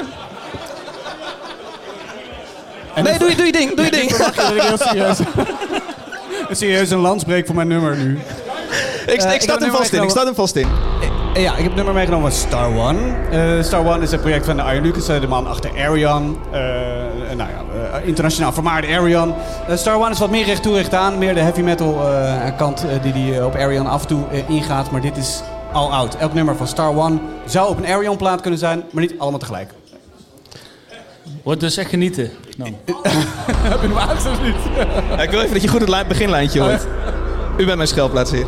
[SPEAKER 4] En
[SPEAKER 1] Nee, doe je, doe je ding, doe je ding.
[SPEAKER 4] Dat vind ik heel serieus.
[SPEAKER 1] [laughs]
[SPEAKER 4] Een serieus [laughs] een landsbreek voor mijn nummer nu.
[SPEAKER 1] ik,
[SPEAKER 4] Eh,
[SPEAKER 1] ik
[SPEAKER 4] ik
[SPEAKER 1] sta
[SPEAKER 4] heb
[SPEAKER 1] er
[SPEAKER 4] hem
[SPEAKER 1] vast in, ik sta er vast in.
[SPEAKER 4] Eh, Ja, ik heb het nummer meegenomen van Star One. Eh, Star One is een project van de Arjen Lucas, eh, de man achter Arian. Eh, eh, nou ja, eh, internationaal vermaarde Arian. Eh, Star One is wat meer recht toe recht aan. Meer de heavy metal eh, kant eh, die die eh, op Arian af en toe eh, ingaat. Maar dit is al oud. Elk nummer van Star One zou op een Arian plaat kunnen zijn, maar niet allemaal tegelijk.
[SPEAKER 2] Wordt dus echt genieten.
[SPEAKER 4] Heb je hem uit of niet?
[SPEAKER 1] Ja, ik wil even dat je goed het lijn- beginlijntje hoort. U bent mijn schuilplaats, heer.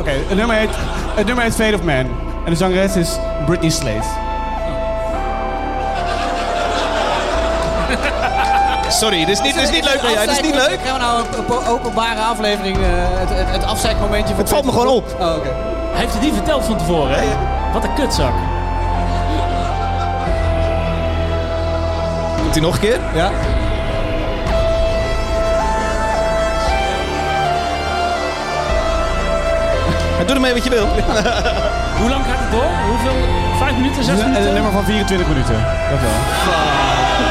[SPEAKER 4] Oké, het, nummer heet, het nummer heet Fate of Man. En de zangeres is Britney Slate.
[SPEAKER 1] Sorry, dit is niet, dit is niet leuk bij jij. Dit is niet leuk.
[SPEAKER 4] Gaan we nou een openbare aflevering, eh, het, het, afzeikmomentje.
[SPEAKER 1] Het valt me gewoon op.
[SPEAKER 4] Oh, oké.
[SPEAKER 2] Hij heeft het niet verteld van tevoren, hè? Wat een kutzak.
[SPEAKER 1] Doet hij nog een keer?
[SPEAKER 4] Ja?
[SPEAKER 1] Maar Doe ermee wat
[SPEAKER 4] [laughs]
[SPEAKER 1] je wil.
[SPEAKER 2] Hoe lang gaat het door? Hoeveel? Vijf minuten, zes
[SPEAKER 4] Een,
[SPEAKER 2] minuten?
[SPEAKER 4] een nummer van 24 minuten. Dat wel.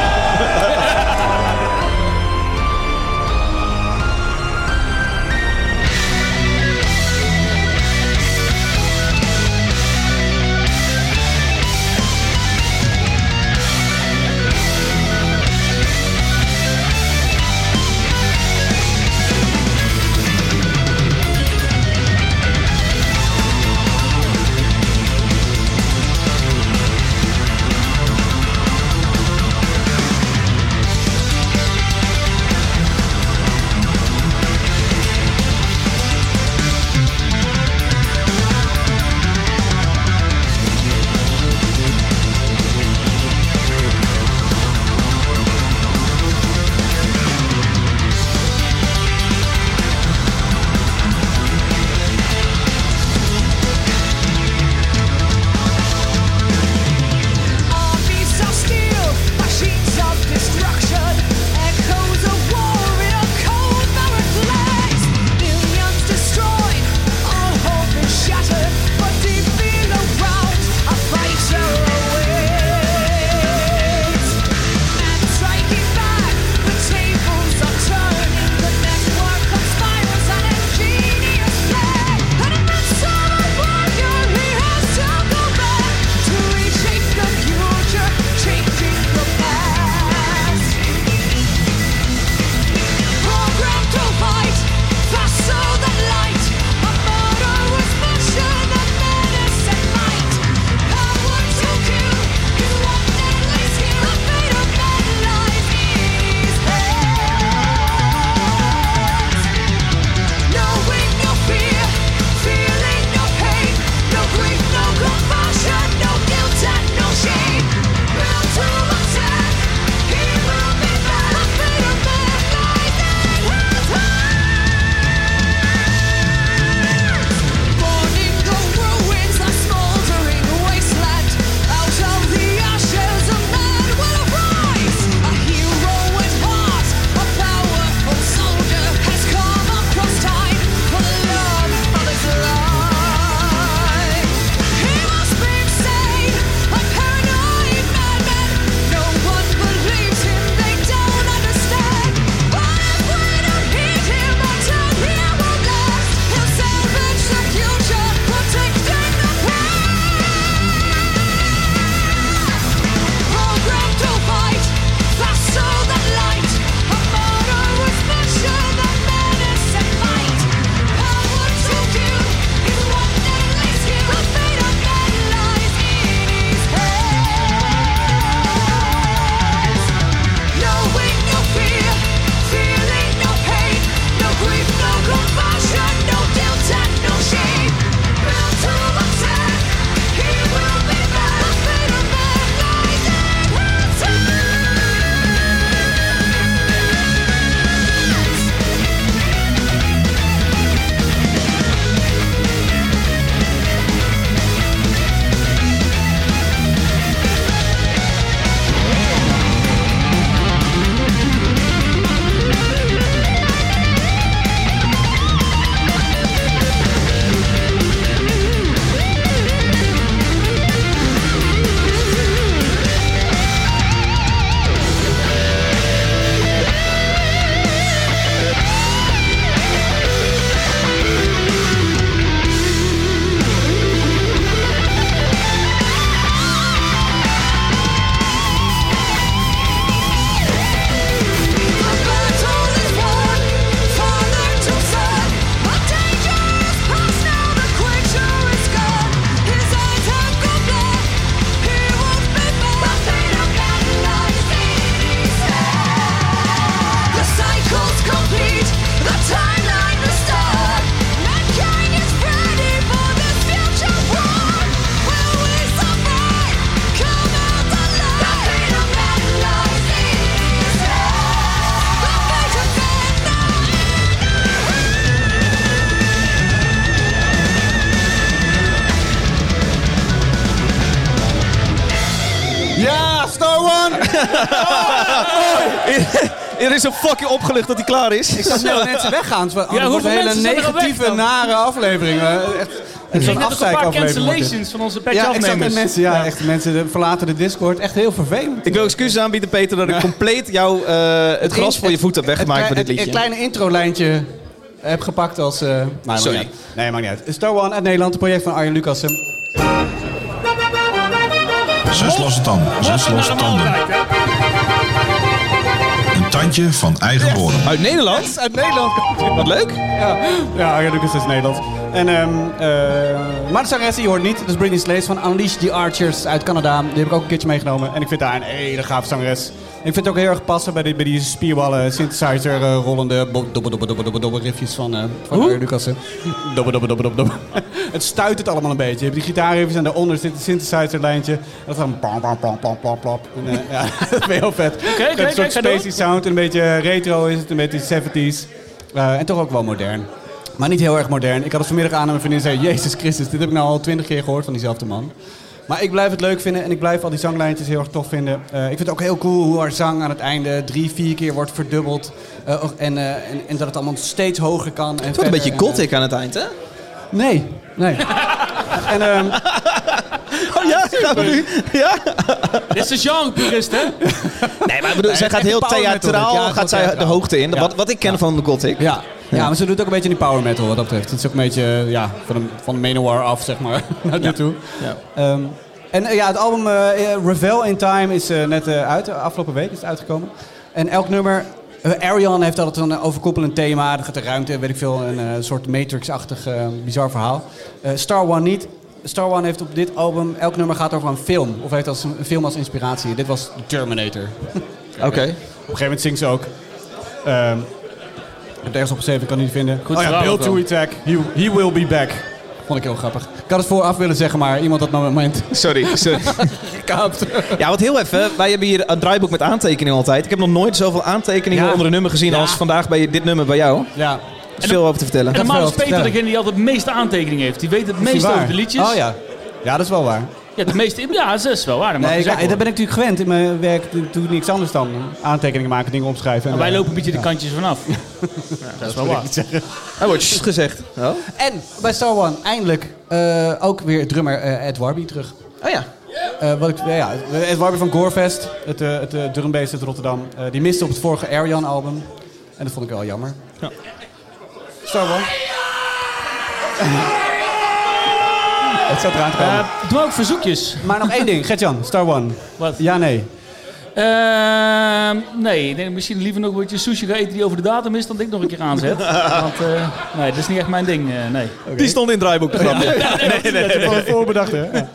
[SPEAKER 4] Arjan!
[SPEAKER 1] Er is een fucking opgelucht dat hij klaar is.
[SPEAKER 4] Ik zag net mensen weggaan. Het ja, wordt
[SPEAKER 2] hoeveel
[SPEAKER 4] een hele
[SPEAKER 2] mensen zijn er al weg
[SPEAKER 4] negatieve,
[SPEAKER 2] dan?
[SPEAKER 4] nare aflevering. Eh, Echt,
[SPEAKER 2] Ik
[SPEAKER 4] zo'n
[SPEAKER 2] kreeg net ook een paar
[SPEAKER 4] afzeikaflevering wordt dit.
[SPEAKER 2] cancellations van onze
[SPEAKER 4] Ja, ik zag net
[SPEAKER 2] patch-afnemers.
[SPEAKER 4] mensen, ja, echt, mensen de- verlaten de Discord. Echt heel vervelend.
[SPEAKER 1] Ik wil excuses aanbieden, Peter, dat ik compleet jou, eh, het gras voor je voet heb weggemaakt met
[SPEAKER 4] Het
[SPEAKER 1] dit
[SPEAKER 4] klei- het-
[SPEAKER 1] liedje.
[SPEAKER 4] het kleine introlijntje heb gepakt als... eh, nou, maakt
[SPEAKER 1] Sorry.
[SPEAKER 4] niet uit. Nee, maakt niet uit. Star One uit Nederland, het project van Arjen Lucassen.
[SPEAKER 9] Zes losse tanden. Zes losse tanden. Een tandje van eigen bodem.
[SPEAKER 1] Uit Nederland?
[SPEAKER 4] Uit Nederland komt hij.
[SPEAKER 1] Wat leuk.
[SPEAKER 4] Ja, ja Arjen Lucassen is Nederlands. En, ehm, eh, maar de zangeres die je hoort niet. Dat is Britney Slays van Unleash the Archers uit Canada. Die heb ik ook een keertje meegenomen. En ik vind daar een hele gaaf zangeres. En ik vind het ook heel erg passen bij die, bij die spierballen, synthesizer eh, rollende bo- dobbe dobbe dobbe dobbe dobbe riffjes van, eh van Arjen Lucassen. Dobbe dobbe dobbe dobbe dobbe. [laughs] Het stuit het allemaal een beetje. Je hebt die gitaarriffjes en daaronder zit een synthesizer lijntje. En dat gaat dan pam pam pam pam pam pam. En, eh, ja, [laughs] dat vind ik heel vet. Het
[SPEAKER 2] oké,
[SPEAKER 4] een soort
[SPEAKER 2] oké, ga door.
[SPEAKER 4] spacey sound, een beetje retro is het, een beetje 70s. Eh, en toch ook wel modern. Maar niet heel erg modern. Ik had het vanmiddag aan en mijn vriendin zei... Jezus Christus, dit heb ik nou al twintig keer gehoord van diezelfde man. Maar ik blijf het leuk vinden en ik blijf al die zanglijntjes heel erg tof vinden. Eh, ik vind het ook heel cool hoe haar zang aan het einde drie, vier keer wordt verdubbeld. Eh, och, en, eh, en, en dat het allemaal steeds hoger kan. En
[SPEAKER 1] Het wordt een beetje
[SPEAKER 4] gothic.
[SPEAKER 1] gothic aan het eind, hè?
[SPEAKER 4] nee, nee. [laughs] en, ehm,
[SPEAKER 1] Oh ja, gaan we nu? Ja.
[SPEAKER 2] Dit is de genre-purist, hè?
[SPEAKER 4] [laughs]
[SPEAKER 1] Nee, maar ik bedoel, zij
[SPEAKER 4] het
[SPEAKER 1] gaat
[SPEAKER 4] is
[SPEAKER 1] heel
[SPEAKER 4] power metal,
[SPEAKER 1] theatraal
[SPEAKER 4] dit. Ja, het
[SPEAKER 1] gaat
[SPEAKER 4] wordt
[SPEAKER 1] zij de
[SPEAKER 4] theatraal.
[SPEAKER 1] hoogte in.
[SPEAKER 4] Ja.
[SPEAKER 1] Wat, wat ik ken van de gothic.
[SPEAKER 4] ja. Ja, maar ze doet ook een beetje die power metal wat dat betreft. Het is ook een beetje eh, ja, van, de, van de Manowar af, zeg maar, [laughs] naar nu toe.
[SPEAKER 1] Ja.
[SPEAKER 4] Ehm, en eh, ja, het album eh, eh, Revel in Time is eh, net eh, uit. Afgelopen week is het uitgekomen. En elk nummer... eh, Arion heeft altijd een overkoepelend thema. Er gaat de ruimte, weet ik veel. Een eh, soort Matrix-achtig eh, bizar verhaal. Eh, Star One niet. Star One heeft op dit album... Elk nummer gaat over een film. Of heeft als een, een film als inspiratie. Dit was Terminator.
[SPEAKER 1] Oké.
[SPEAKER 4] Op een gegeven moment zingt ze ook. ehm, ik heb het ergens opgeschreven, ik kan het niet vinden.
[SPEAKER 2] Goed
[SPEAKER 4] oh ja,
[SPEAKER 2] verhaal
[SPEAKER 4] Bill
[SPEAKER 2] ook wel.
[SPEAKER 4] to attack. He, he will be back. Vond ik heel grappig. Ik had het vooraf willen zeggen, maar iemand had mijn moment [laughs]
[SPEAKER 1] Sorry, sorry.
[SPEAKER 4] gekaapt.
[SPEAKER 1] Ja, wat heel even. Wij hebben hier een draaiboek met aantekeningen altijd. Ik heb nog nooit zoveel aantekeningen
[SPEAKER 4] Ja.
[SPEAKER 1] onder een nummer gezien
[SPEAKER 4] Ja.
[SPEAKER 1] als vandaag bij dit nummer bij jou.
[SPEAKER 4] ja.
[SPEAKER 1] Er is veel over te vertellen.
[SPEAKER 2] En normaal is Peter
[SPEAKER 4] Ja.
[SPEAKER 2] degene die altijd het meeste aantekeningen heeft. Die weet het
[SPEAKER 4] is
[SPEAKER 2] meeste
[SPEAKER 4] waar.
[SPEAKER 2] over de liedjes.
[SPEAKER 4] Oh ja. Ja, dat is wel waar.
[SPEAKER 2] Ja, de meeste, ja, dat is wel waar. dat mag
[SPEAKER 4] Nee, ik-
[SPEAKER 2] gezegd
[SPEAKER 4] dat
[SPEAKER 2] worden.
[SPEAKER 4] ben ik natuurlijk gewend. In mijn werk doe doe ik niks anders dan aantekeningen maken, dingen opschrijven. En,
[SPEAKER 2] Wij
[SPEAKER 4] eh,
[SPEAKER 2] lopen een beetje de kantjes vanaf. Ja, dat is wel waar.
[SPEAKER 1] Er wordt shit gezegd. Oh,
[SPEAKER 4] En bij Star One eindelijk eh, ook weer drummer eh, Ed Warby terug.
[SPEAKER 1] oh ja.
[SPEAKER 4] Eh, wat ik, ja, ja, Ed Warby van Gorefest, het, eh het eh, drumbeest uit Rotterdam. eh, die miste op het vorige Arian album. En dat vond ik wel jammer. Star One. [laughs] het zat eraan te komen.
[SPEAKER 2] Eh, doe ook verzoekjes.
[SPEAKER 4] maar nog één ding. Gert-Jan, Star One.
[SPEAKER 2] Wat?
[SPEAKER 4] Ja, nee.
[SPEAKER 2] Ehm, nee, ik denk misschien liever nog een beetje sushi gaan eten die over de datum is, dan dat ik nog een keer
[SPEAKER 4] [laughs]
[SPEAKER 2] aanzet. Want eh, nee, dat is niet echt mijn ding. eh, nee.
[SPEAKER 1] Die stond in het draaiboek.
[SPEAKER 4] Dat is wel voorbedacht, hè? Ja.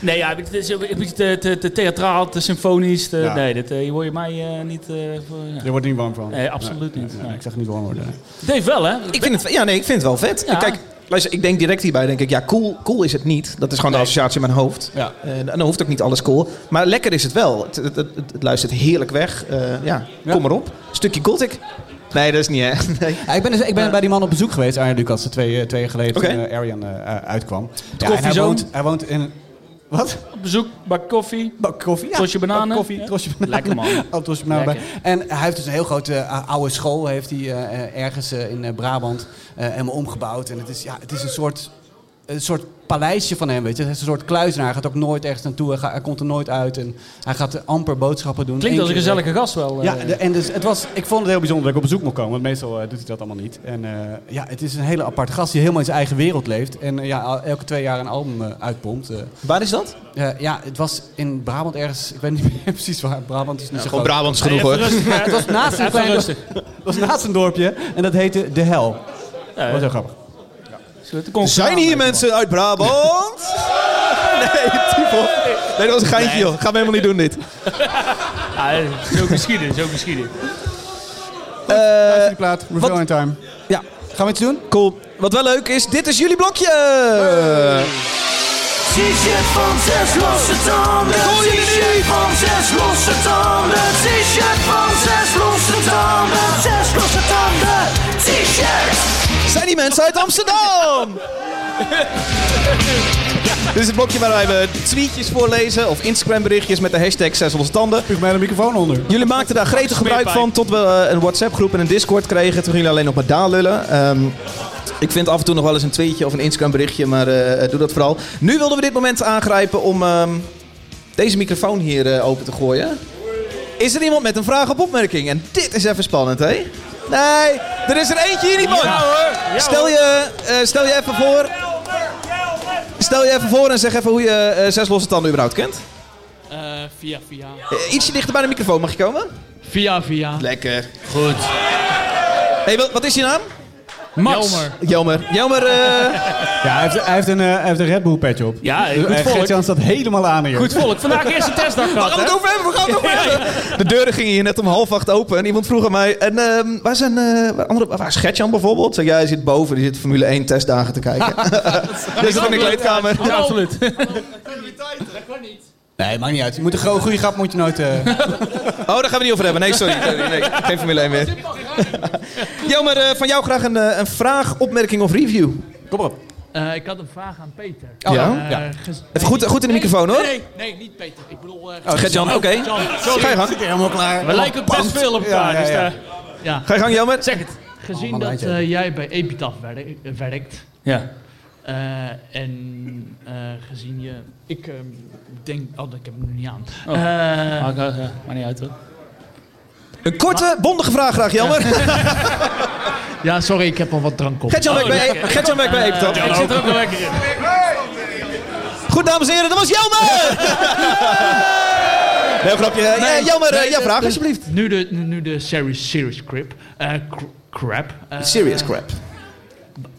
[SPEAKER 2] nee, ja, het is een beetje te, te, te theatraal, te symfonisch. te-
[SPEAKER 4] Ja.
[SPEAKER 2] Nee, dat eh, hier hoor je mij eh, niet. eh, voor, ja.
[SPEAKER 4] [laughs] Je wordt er niet warm van.
[SPEAKER 2] Nee, absoluut niet.
[SPEAKER 4] Nee,
[SPEAKER 2] Nee.
[SPEAKER 4] Ik zag het niet warm worden.
[SPEAKER 2] Dave wel, hè?
[SPEAKER 1] Ik vind het, ja, nee, ik vind het wel vet.
[SPEAKER 2] Ja.
[SPEAKER 1] Kijk, luister, ik denk direct hierbij, denk ik, ja, cool, cool is het niet. Dat is gewoon de associatie in mijn hoofd.
[SPEAKER 4] Ja.
[SPEAKER 1] Eh, en dan hoeft ook niet alles cool. Maar lekker is het wel. Het, het, het, het luistert heerlijk weg. Eh, ja,
[SPEAKER 4] Ja.
[SPEAKER 1] kom maar op. Stukje gothic. Nee, dat is niet echt. Nee.
[SPEAKER 4] Ja, ik ben, dus, ik ben bij die man op bezoek geweest, Arjen Lucas, de twee, eh, twee jaar geleden
[SPEAKER 1] Oké.
[SPEAKER 4] toen eh, Arjan eh, uitkwam. Ja, en hij,
[SPEAKER 2] koffiezoon.
[SPEAKER 4] woont, hij woont in... Wat?
[SPEAKER 2] Op bezoek, bak koffie.
[SPEAKER 4] Bak koffie, ja.
[SPEAKER 2] Trosje bananen.
[SPEAKER 4] Bak koffie,
[SPEAKER 2] Ja.
[SPEAKER 4] trosje bananen.
[SPEAKER 2] Lekker, man.
[SPEAKER 4] [laughs] Al trosje bananen bij.
[SPEAKER 2] Lekker.
[SPEAKER 4] En hij heeft dus een heel grote eh, oude school heeft hij, eh, eh, ergens eh, in eh, Brabant eh, helemaal omgebouwd. En het is, ja, het is een soort... Een soort paleisje van hem, weet je. Het is een soort kluizenaar. Hij gaat ook nooit ergens naartoe. Hij, ga- hij komt er nooit uit. En hij gaat eh, amper boodschappen doen.
[SPEAKER 2] Klinkt
[SPEAKER 4] Eén
[SPEAKER 2] als een
[SPEAKER 4] keer-
[SPEAKER 2] gezellige gast wel. eh.
[SPEAKER 4] ja, de- en dus het was, ik vond het heel bijzonder dat ik op bezoek mocht komen, want meestal eh, doet hij dat allemaal niet. En eh, ja, het is een hele apart gast die helemaal in zijn eigen wereld leeft. En eh, ja, al- elke twee jaar een album eh, uitpompt. Eh,
[SPEAKER 1] Waar is dat?
[SPEAKER 4] eh, ja, het was in Brabant ergens, ik weet niet
[SPEAKER 7] [laughs]
[SPEAKER 4] meer precies waar. Brabant is niet zo
[SPEAKER 1] Gewoon
[SPEAKER 4] groot.
[SPEAKER 1] Brabants genoeg
[SPEAKER 2] Even
[SPEAKER 1] hoor.
[SPEAKER 2] rustig, hè.
[SPEAKER 4] Het was naast een
[SPEAKER 2] Even
[SPEAKER 4] klein
[SPEAKER 2] rustig.
[SPEAKER 4] het was naast een dorpje en dat heette De Hel. Dat was heel grappig.
[SPEAKER 7] Eh,
[SPEAKER 2] Zullen we het de
[SPEAKER 1] Zijn hier mensen uit Brabant? [laughs] Nee, typo. Nee, dat was een geintje joh. Gaan we helemaal niet doen dit.
[SPEAKER 2] Ja, Ah, zo geschieden, zo geschieden.
[SPEAKER 4] Luister die plaat, Reveal
[SPEAKER 1] wat-
[SPEAKER 4] in Time.
[SPEAKER 1] Ja,
[SPEAKER 4] Gaan we iets doen?
[SPEAKER 1] cool. Wat wel leuk is, dit is jullie blokje.
[SPEAKER 3] T-shirt van zes losse tanden.
[SPEAKER 1] Gooi je
[SPEAKER 3] T-shirt
[SPEAKER 1] niet.
[SPEAKER 3] van zes losse tanden. T-shirt van zes losse tanden. Zes losse tanden. T-shirt.
[SPEAKER 1] zijn die mensen uit [laughs] Amsterdam? Dit is het blokje waar wij eh, tweetjes voorlezen of Instagram berichtjes met de hashtag 6 losse tanden.
[SPEAKER 7] Spuug mij de microfoon onder.
[SPEAKER 1] Jullie maakten daar gretig gebruik van tot we eh, een WhatsApp-groep en een Discord kregen. Toen gingen jullie alleen nog maar daar lullen. Ehm, ik vind af en toe nog wel eens een tweetje of een Instagram-berichtje, maar eh, eh, doe dat vooral. Nu wilden we dit moment aangrijpen om ehm, deze microfoon hier eh, open te gooien. Is er iemand met een vraag of opmerking? En dit is even spannend, hè? Nee, er is er eentje hier, iemand. stel, je, eh, stel je even voor. Stel je even voor en zeg even hoe je eh, zes losse tanden überhaupt kent.
[SPEAKER 10] via, via.
[SPEAKER 1] Eh, ietsje dichter bij de microfoon, mag je komen?
[SPEAKER 10] Via, via.
[SPEAKER 1] Lekker.
[SPEAKER 10] Goed.
[SPEAKER 1] Hey, wat, wat is je naam?
[SPEAKER 10] Max.
[SPEAKER 1] Jelmer.
[SPEAKER 7] [laughs]
[SPEAKER 1] Jelmer, eh,
[SPEAKER 7] Ja, hij heeft, hij heeft een, eh, hij heeft een Red Bull patch op.
[SPEAKER 10] Ja,
[SPEAKER 7] Eh,
[SPEAKER 10] goed volk.
[SPEAKER 7] Gert-Jan staat helemaal aan hier.
[SPEAKER 10] Goed volk. Vandaag eerste testdag
[SPEAKER 1] waar
[SPEAKER 10] gehad,
[SPEAKER 1] gaan we
[SPEAKER 10] hè?
[SPEAKER 1] het over hebben? Waar gaan we het over hebben? De deuren gingen hier net om half acht open en iemand vroeg aan mij... En, ehm, waar, zijn, eh, waar, andere, waar is Gertjan bijvoorbeeld? Zeg, ja, hij zit boven, die zit Formule 1 testdagen te kijken.
[SPEAKER 7] [laughs]
[SPEAKER 1] [laughs] Dus Hij zit in de kleedkamer.
[SPEAKER 10] Ja, absoluut.
[SPEAKER 7] Nee, maakt niet uit. Je moet een gro- goede grap moet je nooit... eh,
[SPEAKER 2] [laughs]
[SPEAKER 1] Oh, daar gaan we niet over hebben. Nee, sorry. Nee, nee, geen Formule 1 meer. Jelmer, eh, van jou graag een, eh, een vraag, opmerking of
[SPEAKER 7] Oh,
[SPEAKER 1] review.
[SPEAKER 7] Kom maar op.
[SPEAKER 10] Eh, ik had een vraag aan Peter.
[SPEAKER 1] Oh, ja?
[SPEAKER 10] Eh,
[SPEAKER 7] Ja.
[SPEAKER 10] ges-
[SPEAKER 1] Even goed, goed in de microfoon, hoor. Oh,
[SPEAKER 10] Nee, nee, niet Peter. Ik bedoel... eh,
[SPEAKER 1] Gertjan, oké. Ga je gang.
[SPEAKER 7] Helemaal klaar.
[SPEAKER 10] we lijken ook best veel op elkaar.
[SPEAKER 7] Ja, ja, ja.
[SPEAKER 10] Dus, eh, ja.
[SPEAKER 1] Ga je gang, Jelmer.
[SPEAKER 10] Zeg het. Gezien
[SPEAKER 7] man,
[SPEAKER 10] dat
[SPEAKER 7] laat je.
[SPEAKER 10] eh, jij bij Epitaph werk- eh, werkt...
[SPEAKER 2] Ja.
[SPEAKER 10] eh, en eh, gezien je... Ik ehm, denk... Oh, ik heb hem nog niet aan.
[SPEAKER 2] Oh.
[SPEAKER 10] Eh,
[SPEAKER 2] Maar, eh, eh, maar niet uit hoor.
[SPEAKER 1] Een korte, bondige vraag graag, Jelmer. [laughs]
[SPEAKER 10] ja, sorry, ik heb al wat drank op. Oh,
[SPEAKER 1] Gertjan werkt bij, Gertjan werkt bij Eeptap.
[SPEAKER 10] ik zit er ook wel lekker in.
[SPEAKER 1] Goed, dames en heren, dat was Jelmer! [laughs] Nee, grapje. Eh, ja, Jelmer, eh,
[SPEAKER 10] Nee,
[SPEAKER 1] ja,
[SPEAKER 10] de-
[SPEAKER 1] vraag
[SPEAKER 10] de-
[SPEAKER 1] alsjeblieft.
[SPEAKER 10] Nu de, nu de series, serious crap. eh, cr- crap. eh,
[SPEAKER 1] Serious crap.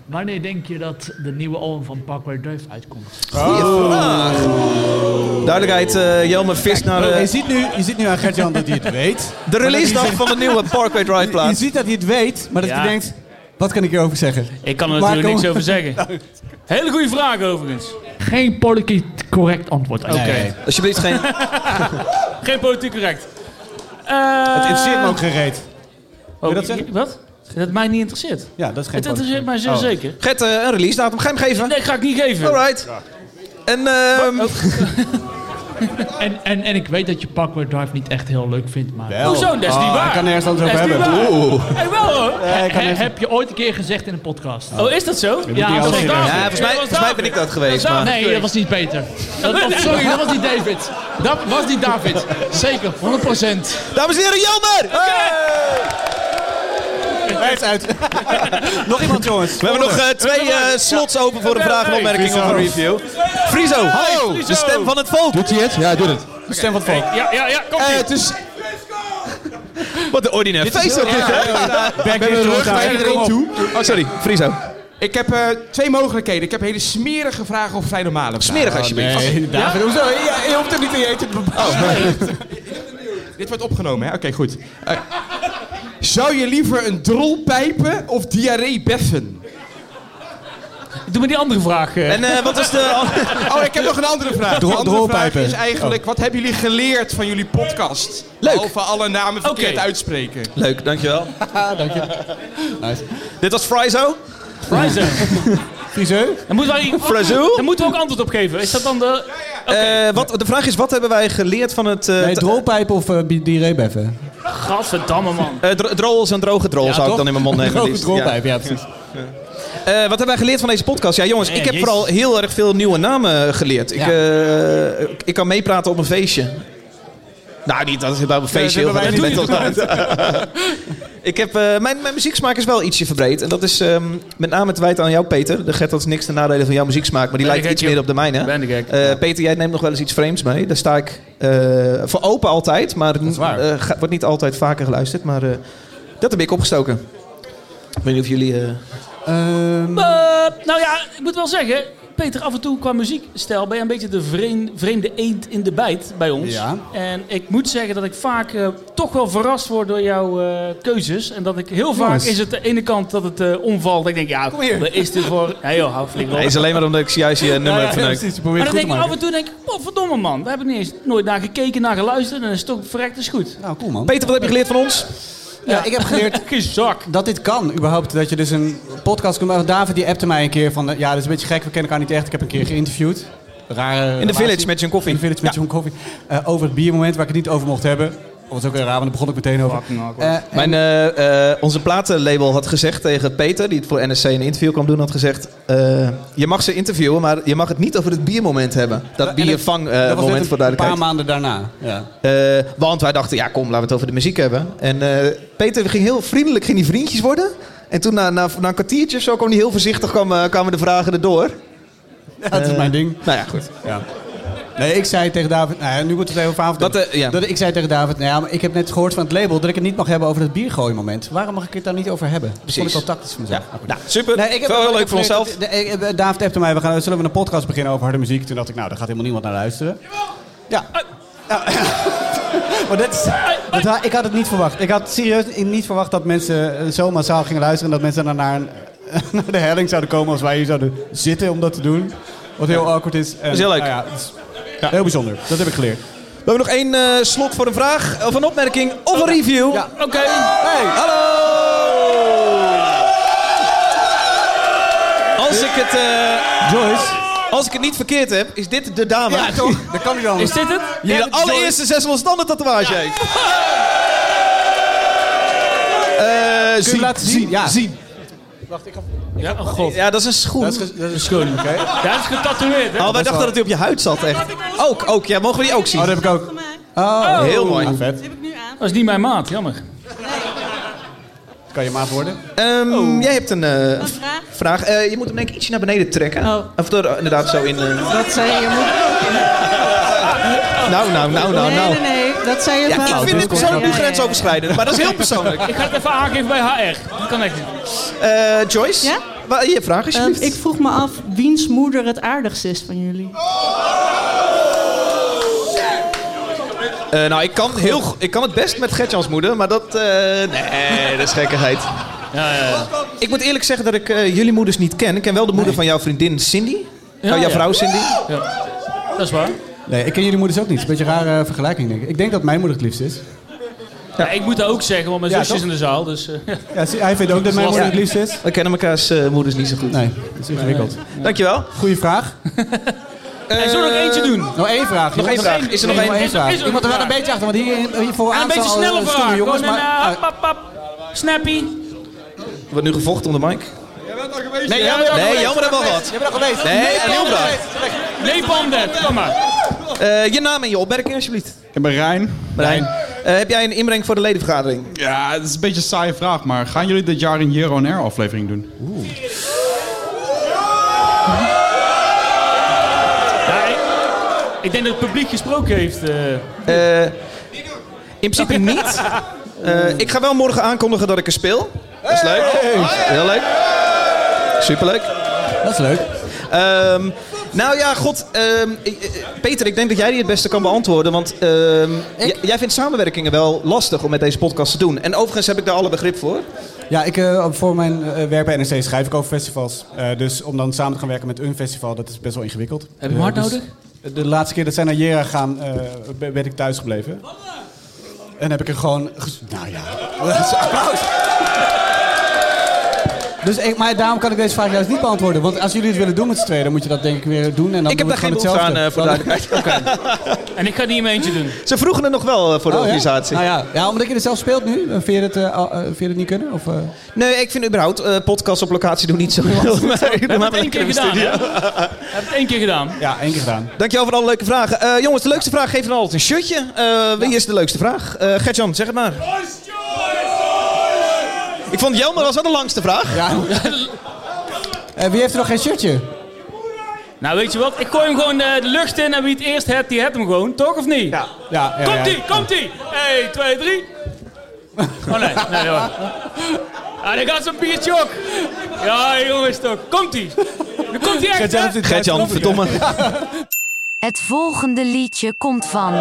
[SPEAKER 10] Wanneer denk je dat de nieuwe album van Parkway Drive uitkomt?
[SPEAKER 1] Goeie vraag. Duidelijkheid, eh, Jelmer vist naar
[SPEAKER 10] oh,
[SPEAKER 7] je,
[SPEAKER 1] de,
[SPEAKER 7] ziet nu, je ziet nu aan Gert-Jan dat hij het
[SPEAKER 2] [laughs]
[SPEAKER 7] weet.
[SPEAKER 1] de release dag van de
[SPEAKER 10] [laughs]
[SPEAKER 1] nieuwe Parkway Drive
[SPEAKER 7] Je
[SPEAKER 1] plaat.
[SPEAKER 7] ziet dat hij het weet, maar dat
[SPEAKER 2] Ja.
[SPEAKER 7] hij denkt... Wat kan ik hierover zeggen?
[SPEAKER 2] Ik kan er
[SPEAKER 7] Maar
[SPEAKER 2] natuurlijk
[SPEAKER 7] kom-
[SPEAKER 2] niks over
[SPEAKER 7] [laughs]
[SPEAKER 2] zeggen. Hele goede vraag overigens.
[SPEAKER 10] Geen politiek correct antwoord. Oké.
[SPEAKER 7] Nee.
[SPEAKER 1] Alsjeblieft geen...
[SPEAKER 2] Geen politiek correct. Eh,
[SPEAKER 7] Het interesseert me ook gereed.
[SPEAKER 2] oh,
[SPEAKER 7] dat zeggen?
[SPEAKER 2] Wat? Dat mij niet interesseert.
[SPEAKER 7] Ja, dat is geen Oh.
[SPEAKER 2] Het interesseert mij zeer zeker.
[SPEAKER 1] Gert, eh, een release datum. Ga je hem geven?
[SPEAKER 2] Nee, ga ik niet geven.
[SPEAKER 1] Alright. En ehm,
[SPEAKER 10] En, en, en ik weet dat je Parkway Drive niet echt heel leuk vindt, maar...
[SPEAKER 2] Hoezo? Dat is
[SPEAKER 1] Oh,
[SPEAKER 2] niet
[SPEAKER 7] Ah,
[SPEAKER 2] waar.
[SPEAKER 7] Ik kan nergens anders
[SPEAKER 2] Dat
[SPEAKER 7] over
[SPEAKER 2] is niet
[SPEAKER 7] hebben.
[SPEAKER 2] waar.
[SPEAKER 7] Oeh.
[SPEAKER 2] Hey, wel hoor.
[SPEAKER 10] He- heb je ooit een keer gezegd in een podcast?
[SPEAKER 2] Oh, is dat zo?
[SPEAKER 10] Ja,
[SPEAKER 7] die
[SPEAKER 10] dat was
[SPEAKER 7] andere-
[SPEAKER 10] David.
[SPEAKER 1] ja, volgens mij, volgens mij ben ik dat geweest. Maar.
[SPEAKER 10] Nee, dat was niet Peter. Dat was, sorry, dat was niet David. Dat was niet David. Zeker, 100%.
[SPEAKER 1] Dames en heren, Jelmer!
[SPEAKER 7] Hij is uit. Nog iemand, jongens.
[SPEAKER 1] We hebben nog eh, twee eh, slots open voor een vraag en opmerking of een review. Frizo, hallo! De stem van het volk.
[SPEAKER 9] Doet hij het? Ja, hij doet het.
[SPEAKER 7] stem van het volk.
[SPEAKER 2] Ja, ja, ja, kom.
[SPEAKER 9] Eh, het
[SPEAKER 4] dus
[SPEAKER 9] is
[SPEAKER 1] Wat een ordinair feest ook dit, hè?
[SPEAKER 7] Back
[SPEAKER 9] met
[SPEAKER 7] in
[SPEAKER 9] een
[SPEAKER 7] jongens,
[SPEAKER 9] rug naar
[SPEAKER 7] daar.
[SPEAKER 9] iedereen toe.
[SPEAKER 1] Oh, sorry. Frizo.
[SPEAKER 9] Ik heb eh, twee mogelijkheden. Ik heb hele smerige vragen of vrij normale vragen.
[SPEAKER 1] Smerig alsjeblieft.
[SPEAKER 7] Ah, Nee,
[SPEAKER 9] Ja?
[SPEAKER 7] David.
[SPEAKER 9] Hoezo? Je, je hoeft het niet in je eten te bepalen. Dit wordt opgenomen, hè? Oké, goed. Eh, zou je liever een drol pijpen of diarree beffen?
[SPEAKER 2] Doe me die andere vraag. eh.
[SPEAKER 1] En eh, wat is
[SPEAKER 7] [laughs]
[SPEAKER 1] de...
[SPEAKER 9] Oh, ik heb nog een andere vraag.
[SPEAKER 7] Drol- Oh.
[SPEAKER 9] De andere
[SPEAKER 7] drolpijpen.
[SPEAKER 9] vraag is eigenlijk, wat hebben jullie geleerd van jullie podcast?
[SPEAKER 1] Leuk.
[SPEAKER 9] Behalve alle namen verkeerd
[SPEAKER 2] Oké.
[SPEAKER 9] uitspreken.
[SPEAKER 1] Leuk, dankjewel.
[SPEAKER 7] [laughs]
[SPEAKER 1] Dank je. Dit was Frizo.
[SPEAKER 2] Prijzen.
[SPEAKER 7] Friseur.
[SPEAKER 2] Dan moeten wij
[SPEAKER 1] Frazoo?
[SPEAKER 2] Daar moeten we ook antwoord op geven. Is dat dan de...
[SPEAKER 1] Eh, wat, de vraag is, wat hebben wij geleerd van het... eh [laughs]
[SPEAKER 7] Nee,
[SPEAKER 1] t-
[SPEAKER 7] drolpijpen of eh, bi- diarree beffen?
[SPEAKER 2] Gadverdamme, man.
[SPEAKER 1] eh, dro- drol is een droge drol, zou ik dan in mijn mond nemen.
[SPEAKER 7] [laughs]
[SPEAKER 4] [laughs] Oh,
[SPEAKER 7] Droge
[SPEAKER 1] liefst. Ja.
[SPEAKER 7] drolpijpen, ja
[SPEAKER 1] [laughs]
[SPEAKER 7] precies.
[SPEAKER 1] Eh, wat hebben wij geleerd van deze podcast? Ja, jongens, ik heb
[SPEAKER 2] Eh, jezus.
[SPEAKER 1] vooral heel erg veel nieuwe namen geleerd. Ik,
[SPEAKER 7] Ja.
[SPEAKER 1] eh, ik- ik kan meepraten op een feestje. Nou, niet dat het bij een feestje
[SPEAKER 7] dat
[SPEAKER 1] heel
[SPEAKER 7] hebben wij
[SPEAKER 1] veel mensen [laughs] Ik heb, eh, mijn, mijn muzieksmaak is wel ietsje verbreed. En dat is ehm, met name te wijten aan jou, Peter. De Gert, dat is niks ten nadele van jouw muzieksmaak, maar die
[SPEAKER 2] Ben
[SPEAKER 1] lijkt
[SPEAKER 2] ik
[SPEAKER 1] iets
[SPEAKER 2] gek,
[SPEAKER 1] meer op de mijne.
[SPEAKER 2] Ben ik gek.
[SPEAKER 1] Eh, Peter, jij neemt nog wel eens iets frames mee. Daar sta ik eh, voor open altijd, maar
[SPEAKER 7] waar.
[SPEAKER 1] eh, ga- wordt niet altijd vaker geluisterd. Maar eh, dat heb ik opgestoken. Ik weet niet of jullie... eh,
[SPEAKER 7] Ehm,
[SPEAKER 2] Eh, nou ja, ik moet wel zeggen... Peter, af en toe qua muziekstijl ben je een beetje de vreem- vreemde eend in de bijt bij ons.
[SPEAKER 7] Ja.
[SPEAKER 2] En ik moet zeggen dat ik vaak eh, toch wel verrast word door jouw eh, keuzes. En dat ik heel vaak
[SPEAKER 7] Jongens.
[SPEAKER 2] is het de ene kant dat het eh, omvalt. Ik denk, ja,
[SPEAKER 7] hier.
[SPEAKER 2] wat is dit voor... Ja joh, hou flink op.
[SPEAKER 1] Nee, is alleen maar omdat ik juist je nummer heb verneukt.
[SPEAKER 7] precies, je probeert
[SPEAKER 2] Maar
[SPEAKER 7] het
[SPEAKER 2] dan
[SPEAKER 7] goed te
[SPEAKER 2] denk ik af
[SPEAKER 7] maken.
[SPEAKER 2] en toe denk ik, oh verdomme man, we hebben niet eens nooit naar gekeken, naar geluisterd en dan is het toch verrekt is goed.
[SPEAKER 7] Nou, cool man.
[SPEAKER 1] Peter, wat heb je geleerd van ons?
[SPEAKER 4] Ja. ik heb
[SPEAKER 2] [laughs]
[SPEAKER 4] geleerd dat dit kan, überhaupt. Dat je dus een podcast kunt maken. David die appte mij een keer van... eh, Ja, dat is een beetje gek, we kennen elkaar niet echt. Ik heb een keer geïnterviewd. Rare relatie.
[SPEAKER 1] Village met John Coffey.
[SPEAKER 4] In de Village met John Coffey. Eh, over het biermoment waar ik het niet over mocht hebben. Dat was ook weer raar, want daar begon ik meteen over. Eh, en-
[SPEAKER 1] Mijn, eh, eh, onze platenlabel had gezegd tegen Peter, die het voor NSC een interview kwam doen, had gezegd: eh, Je mag ze interviewen, maar je mag het niet over het biermoment hebben. Dat
[SPEAKER 4] dat was net
[SPEAKER 1] biervangmoment
[SPEAKER 4] een
[SPEAKER 1] eh, voor duidelijkheid.
[SPEAKER 4] paar maanden daarna. Ja.
[SPEAKER 1] Eh, want wij dachten, ja kom, laten we het over de muziek hebben. En eh, Peter ging heel vriendelijk, ging die vriendjes worden. En toen na, na, na een kwartiertje of zo kwam hij heel voorzichtig, kwam, eh, kwamen de vragen erdoor.
[SPEAKER 4] Ja, [laughs] dat is
[SPEAKER 1] Eh,
[SPEAKER 4] mijn ding.
[SPEAKER 1] Nou ja, goed.
[SPEAKER 4] Ja. Nee, ik zei tegen David... Nou ja, nu wordt het even avond.
[SPEAKER 1] Wat, eh, ja.
[SPEAKER 4] dat, ik zei tegen David... Nou ja, maar ik heb net gehoord van het label dat ik het niet mag hebben over het biergooien-moment. Waarom mag ik het daar niet over hebben? Dat vond ik
[SPEAKER 1] Precies.
[SPEAKER 4] al tactisch van mezelf. Maar goed.
[SPEAKER 1] Nou, super.
[SPEAKER 4] Nee, ik heb-
[SPEAKER 1] wel heel
[SPEAKER 4] ik
[SPEAKER 1] leuk
[SPEAKER 4] heb
[SPEAKER 1] voor
[SPEAKER 4] geleerd
[SPEAKER 1] onszelf.
[SPEAKER 4] dat- de- eh, eh, David appte mij, we gaan, zullen we een podcast beginnen over harde muziek? Toen dacht ik, nou, daar gaat helemaal niemand naar luisteren. Ja. [laughs] Nou, maar dat is, dat wa- ik had het niet verwacht. Ik had serieus niet verwacht dat mensen eh, zo massaal gingen luisteren... en dat mensen dan naar, een- [laughs] naar de helling zouden komen als wij hier zouden zitten om dat te doen. Wat heel awkward is. En,
[SPEAKER 1] Dat is heel leuk.
[SPEAKER 4] nou ja, het is Heel bijzonder. Dat heb ik geleerd.
[SPEAKER 1] We hebben nog één eh, slot voor een vraag, of een opmerking, of een review.
[SPEAKER 4] Ja.
[SPEAKER 1] Oké. Hey, hallo! Als ik het... eh, Als ik het niet verkeerd heb, is dit de dame.
[SPEAKER 4] Ja, toch? Dat kan niet anders.
[SPEAKER 1] Is dit
[SPEAKER 2] het?
[SPEAKER 1] Die de allereerste zes losstanden tatoeage heeft. Eh,
[SPEAKER 4] Kun je
[SPEAKER 1] zien,
[SPEAKER 4] laten
[SPEAKER 1] zien,
[SPEAKER 4] zien? Ja.
[SPEAKER 1] zien.
[SPEAKER 2] Ja, oh god.
[SPEAKER 1] Ja, dat is een schoen.
[SPEAKER 4] Dat is, dat is schoon, oké?
[SPEAKER 2] Ja, dat is getatoeëerd, hè?
[SPEAKER 1] oh, wij dachten dat hij op je huid zat, echt. Ook, ook. Ja, mogen we die ook zien?
[SPEAKER 4] Oh, dat heb ik ook.
[SPEAKER 1] Oh, Heel mooi.
[SPEAKER 4] Ah, vet.
[SPEAKER 2] Dat is niet mijn maat, jammer.
[SPEAKER 4] Kan je maat worden?
[SPEAKER 1] Ehm,
[SPEAKER 4] Oh.
[SPEAKER 1] Jij hebt een eh, vraag. Eh, je moet hem denk ik ietsje naar beneden trekken. Of er, eh, inderdaad zo in... eh,
[SPEAKER 11] Dat Oh. zei je
[SPEAKER 1] Nou, nou, nou, nou, nou.
[SPEAKER 11] Nee, nee, nee. Dat zei je
[SPEAKER 1] Ja, ik
[SPEAKER 11] fout.
[SPEAKER 1] vind dit persoonlijk nu
[SPEAKER 11] Ja, ja, ja.
[SPEAKER 1] grensoverschrijdend, maar dat is heel
[SPEAKER 11] [laughs]
[SPEAKER 1] persoonlijk.
[SPEAKER 2] Ik ga het even aangeven bij HR. Dat kan echt niet.
[SPEAKER 1] Eh, Joyce,
[SPEAKER 11] Ja?
[SPEAKER 1] wa- je vraag alsjeblieft.
[SPEAKER 11] Ehm, ik vroeg me af wiens moeder het aardigste is van jullie.
[SPEAKER 1] Eh, nou, ik kan, heel, go- ik kan het best met Gertjans moeder, maar dat... eh, nee, dat is gekkigheid. Ik moet eerlijk zeggen dat ik eh, jullie moeders niet ken. Ik ken wel de moeder van jouw vriendin Cindy.
[SPEAKER 2] Ja,
[SPEAKER 1] nou, jouw
[SPEAKER 2] ja.
[SPEAKER 1] vrouw Cindy.
[SPEAKER 2] Dat is waar.
[SPEAKER 4] Nee, ik ken jullie moeders ook niet. Beetje rare vergelijking, denk ik. Ik denk dat mijn moeder het liefst is.
[SPEAKER 2] Ja, ik moet dat ook zeggen, want mijn
[SPEAKER 4] Ja,
[SPEAKER 2] zusje is
[SPEAKER 4] toch?
[SPEAKER 2] in de zaal. Dus, eh, ja.
[SPEAKER 4] Ja, zie- hij vindt ook dat mijn moeder het liefst is.
[SPEAKER 1] We kennen mekaars eh, moeders niet zo goed.
[SPEAKER 4] Nee, dat is ingewikkeld.
[SPEAKER 1] Dankjewel. Eh,
[SPEAKER 4] Goeie vraag. Eh,
[SPEAKER 2] Hey, zullen we nog eentje doen?
[SPEAKER 4] Nog één vraag.
[SPEAKER 1] Nog één
[SPEAKER 4] jongens.
[SPEAKER 1] vraag. Is er nog
[SPEAKER 4] Nog
[SPEAKER 1] één?
[SPEAKER 4] één
[SPEAKER 2] Is er-
[SPEAKER 4] vraag.
[SPEAKER 2] is er
[SPEAKER 4] Ik moet er wel een
[SPEAKER 2] een
[SPEAKER 4] beetje achter, want hier, hiervoor
[SPEAKER 2] En een beetje snelle vraag. eh, Jongens, maar... eh, pap, pap. Snappy.
[SPEAKER 1] Er Wordt nu gevochten onder Mike?
[SPEAKER 4] Nee,
[SPEAKER 1] Ja,
[SPEAKER 4] jammer.
[SPEAKER 1] nee, jammer hebben we al wat.
[SPEAKER 4] Je bent al geweest.
[SPEAKER 1] Nee, eh, een heel vraag.
[SPEAKER 2] Nee, Bandit. Kom maar.
[SPEAKER 1] Eh, je naam en je opmerking alsjeblieft.
[SPEAKER 7] Ik ben Rijn.
[SPEAKER 1] Marijn, eh, heb jij een inbreng voor de ledenvergadering?
[SPEAKER 7] Ja, het is een beetje een saaie vraag, maar gaan jullie dit jaar een Year on Air aflevering doen?
[SPEAKER 2] Ja, ik, ik denk dat het publiek gesproken heeft. eh.
[SPEAKER 1] Eh, in
[SPEAKER 4] [laughs]
[SPEAKER 1] principe niet. Eh, ik ga wel morgen aankondigen dat ik er speel. Dat is leuk. Heel leuk. Superleuk.
[SPEAKER 4] Ah, Dat is leuk.
[SPEAKER 1] Ehm, nou ja, god. ehm, ik- eh, Peter, ik denk dat jij die het beste kan beantwoorden. Want ehm, j- jij vindt samenwerkingen wel lastig om met deze podcast te doen. En overigens heb ik daar alle begrip voor.
[SPEAKER 4] Ja, ik, eh, voor mijn eh, werk bij NRC schrijf ik over festivals. Eh, dus om dan samen te gaan werken met een festival, dat is best wel ingewikkeld. Heb
[SPEAKER 2] je hem hard nodig?
[SPEAKER 4] De laatste keer dat zij naar Jera gaan, eh, ben- ben ik thuis gebleven. En heb ik er gewoon... ges- Nou ja. [laughs] Dat is applaus. Dus ik, maar daarom kan ik deze vraag juist niet beantwoorden. Want als jullie het willen doen met z'n tweeën, dan moet je dat denk ik weer doen. En dan
[SPEAKER 1] ik heb
[SPEAKER 4] doen we
[SPEAKER 1] daar geen
[SPEAKER 4] het
[SPEAKER 1] behoefte
[SPEAKER 4] gewoon
[SPEAKER 1] aan eh, voor
[SPEAKER 4] hetzelfde. Dan-
[SPEAKER 1] duidelijkheid.
[SPEAKER 2] En ik ga niet in mijn eentje doen.
[SPEAKER 1] Ze vroegen het nog wel eh, voor de
[SPEAKER 4] Oh, ja?
[SPEAKER 1] organisatie.
[SPEAKER 4] Nou ja. ja, omdat je het zelf speelt nu. eh, Vind je het, eh, al- eh, vind je het niet kunnen? Of, eh?
[SPEAKER 1] Nee, ik vind überhaupt eh podcasts op locatie doen niet zo heel [laughs] erg mee. Doe maar
[SPEAKER 2] Heb het één
[SPEAKER 1] lekker
[SPEAKER 2] keer
[SPEAKER 1] in de
[SPEAKER 2] gedaan, hè?
[SPEAKER 1] studio.
[SPEAKER 2] Heb het één keer gedaan.
[SPEAKER 4] Ja, één keer gedaan.
[SPEAKER 1] Dankjewel voor alle leuke vragen. Eh, jongens, de leukste vraag geeft dan altijd een shirtje. Eh, wie is de leukste vraag? Eh Gertjan, zeg het maar. Ik vond Jelmer was wel de langste vraag.
[SPEAKER 4] Ja. Eh, wie heeft er nog geen shirtje?
[SPEAKER 2] Nou, weet je wat? Ik gooi hem gewoon eh, de lucht in en wie het eerst hebt, die hebt hem gewoon. Toch of niet?
[SPEAKER 4] Ja. ja, ja, ja.
[SPEAKER 2] Komt-ie, komt-ie. 1, 2, 3. Oh nee, nee hoor. Ah, daar gaat zo'n biertje ook. Ja, jongens toch. Komt-ie. Dan komt-ie echt, hè?
[SPEAKER 1] Gertjan, verdomme.
[SPEAKER 5] Het volgende liedje komt van.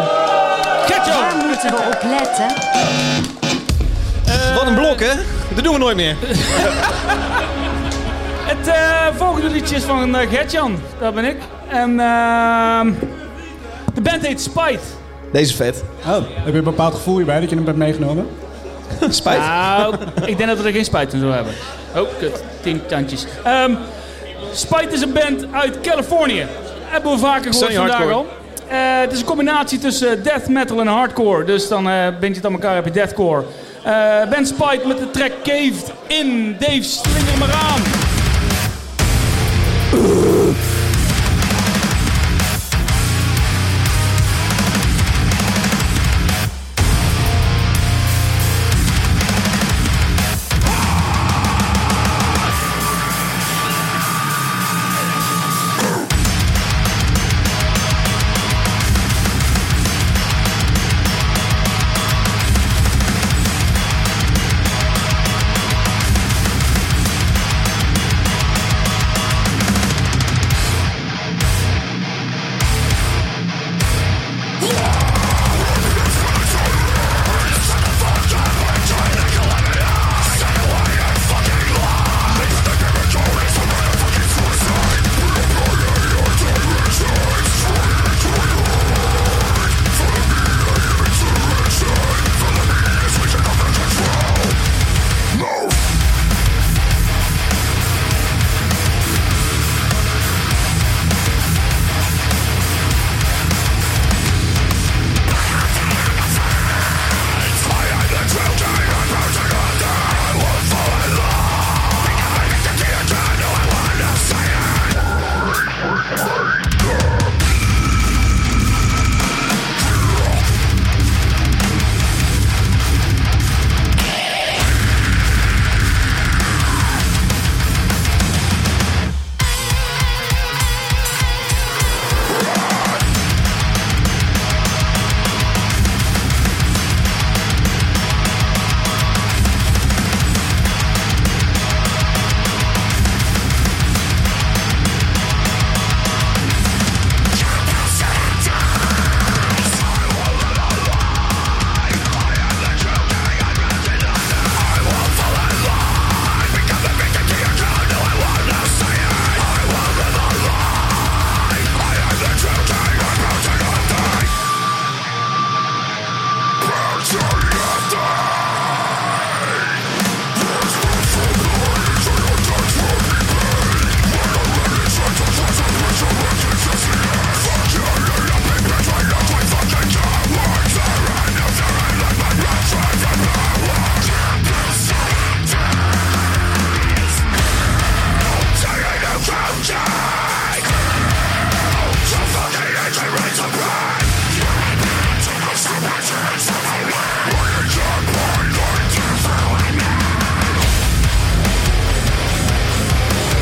[SPEAKER 2] Gertjan.
[SPEAKER 5] Daar moeten we op letten.
[SPEAKER 1] Wat een blok, hè? Dat doen we nooit meer.
[SPEAKER 2] Het eh, volgende liedje is van eh, Gertjan. Dat ben ik. En ehm de band heet Spite.
[SPEAKER 1] Deze is vet.
[SPEAKER 4] Oh, heb je een bepaald gevoel hierbij dat je hem hebt meegenomen?
[SPEAKER 1] Spijt?
[SPEAKER 2] Nou, ik denk dat we er geen spijt van zullen hebben. Oh, kut. Tien tandjes. Ehm, Spijt is een band uit Californië. Hebben we vaker gehoord
[SPEAKER 9] Sunny
[SPEAKER 2] vandaag
[SPEAKER 9] hardcore.
[SPEAKER 2] al. Eh, het is een combinatie tussen eh, death metal en hardcore. Dus dan eh bind je het aan elkaar, heb je deathcore. Eh ben Spijt met de track Caved In. Dave, slinger maar aan.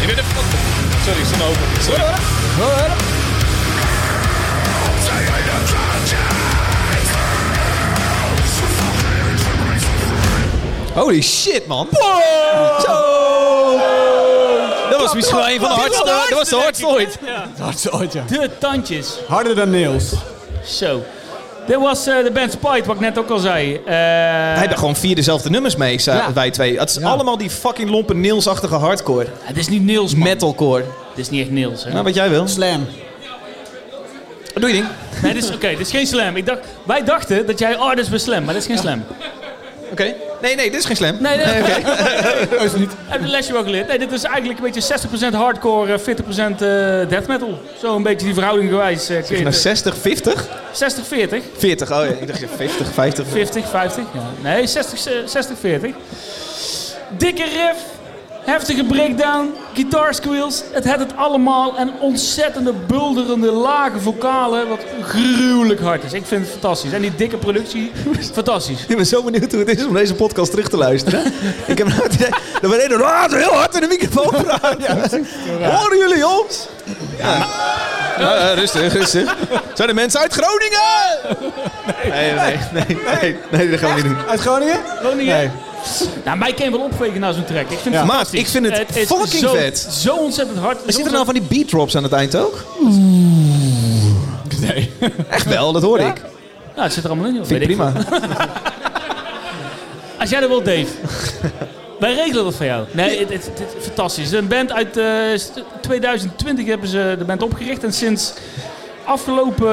[SPEAKER 9] Je bent even... Sorry, ik stond open. Sorry. Hoor,
[SPEAKER 1] Holy shit, man. Zo. Dat was misschien wel een van de hardste. Dat was de hardste ooit.
[SPEAKER 2] hardste ooit, ja. De tandjes. Harder dan nails. Zo. Dit was eh, de band Spite, wat ik net ook al zei. Eh,
[SPEAKER 1] Hij hebben gewoon vier dezelfde nummers mee, zei-
[SPEAKER 2] Ja.
[SPEAKER 1] wij twee. Het is allemaal die fucking lompe Nils-achtige hardcore.
[SPEAKER 2] Het is niet Nils,
[SPEAKER 1] Metalcore.
[SPEAKER 2] Het is niet echt Nils, hè?
[SPEAKER 1] Nou, wat jij wil.
[SPEAKER 2] Slam.
[SPEAKER 1] Doe je ding.
[SPEAKER 2] Nee, dit is oké, dit is geen slam. Ik dacht, wij dachten dat jij, oh, dit is weer slam, maar dit is geen slam.
[SPEAKER 1] Oké. Nee, nee, dit is geen slam.
[SPEAKER 2] Nee, [laughs] nee,
[SPEAKER 1] oké.
[SPEAKER 2] is niet. Heb je de lesje wel geleerd? Nee, dit is eigenlijk een beetje 60% hardcore, eh, 40% eh, death metal. Zo een beetje die verhouding gewijs. eh, kun je
[SPEAKER 1] Nou,
[SPEAKER 2] het-
[SPEAKER 1] 60, 50?
[SPEAKER 2] 60, 40.
[SPEAKER 1] 40, oh ja. Ik dacht je 50, 50.
[SPEAKER 2] 50, 50. Ja. Nee, 60, eh, 60, 40. Dikke riff, heftige breakdown, guitar squeals. Het had het allemaal en ontzettende bulderende lage vocalen. Wat gruwelijk hard is. Ik vind het fantastisch. En die dikke [laughs] productie, fantastisch.
[SPEAKER 1] Ik ben zo benieuwd hoe het is om deze podcast terug te luisteren. ik heb nou het idee dat we reden ah, heel hard in de microfoon praten. Horen jullie ons? Ja. Eh, eh, rustig, rustig. Zijn er mensen uit Groningen? Nee, nee, nee. Nee, nee dat gaan we niet doen.
[SPEAKER 2] Uit Groningen? Groningen?
[SPEAKER 1] Nee.
[SPEAKER 2] Nou, mij kan je wel opvegen naar zo'n track. Ik vind
[SPEAKER 1] Ja.
[SPEAKER 2] het
[SPEAKER 1] Maat,
[SPEAKER 2] fantastisch.
[SPEAKER 1] ik vind het
[SPEAKER 2] is
[SPEAKER 1] fucking
[SPEAKER 2] zo,
[SPEAKER 1] vet.
[SPEAKER 2] Zo ontzettend hard.
[SPEAKER 1] Er zitten nou van die beat drops aan het eind ook? Nee. Echt wel, dat hoor ik.
[SPEAKER 2] Ja, Nou, het zit er allemaal in. joh.
[SPEAKER 1] Vind ik
[SPEAKER 2] Weet
[SPEAKER 1] prima.
[SPEAKER 2] veel. Als jij dat wilt,
[SPEAKER 1] [laughs]
[SPEAKER 2] Dave. Wij regelen dat voor jou. Nee, het, het, het is fantastisch. Een band uit eh, st- 2020 hebben ze de band opgericht. En sinds afgelopen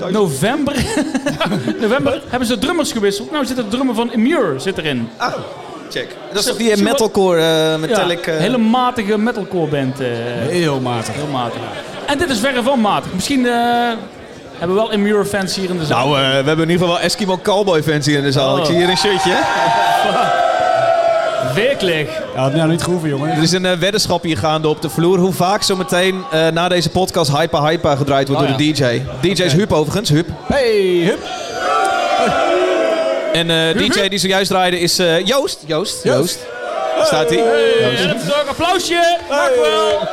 [SPEAKER 2] eh, november, [laughs] november hebben ze drummers gewisseld. Nou zit de drummer van Immure zit erin.
[SPEAKER 1] Ah, check. Dat is toch die eh, metalcore, eh, metallic... eh,
[SPEAKER 2] hele matige metalcore band. eh.
[SPEAKER 1] Heel matig.
[SPEAKER 2] Heel matig. En dit is verre van matig. Misschien eh, hebben we wel Immure fans hier in de zaal.
[SPEAKER 1] Nou, eh, we hebben in ieder geval wel Eskimo Cowboy fans hier in de zaal.
[SPEAKER 2] Oh.
[SPEAKER 1] Ik zie hier een shirtje. eh.
[SPEAKER 2] Werkelijk.
[SPEAKER 1] Ja, nou niet gehoeven, jongen. Er is een eh, weddenschap hier gaande op de vloer. Hoe vaak zometeen eh na deze podcast Hypa Hypa gedraaid wordt
[SPEAKER 9] Oh,
[SPEAKER 1] door de DJ. DJ's is Huub overigens, Huub.
[SPEAKER 9] Hey, hup.
[SPEAKER 1] En eh DJ die zojuist draaide is eh, Joost. Joost. Joost. Staat hij?
[SPEAKER 2] Hey, dat is toch een applausje. Dank wel.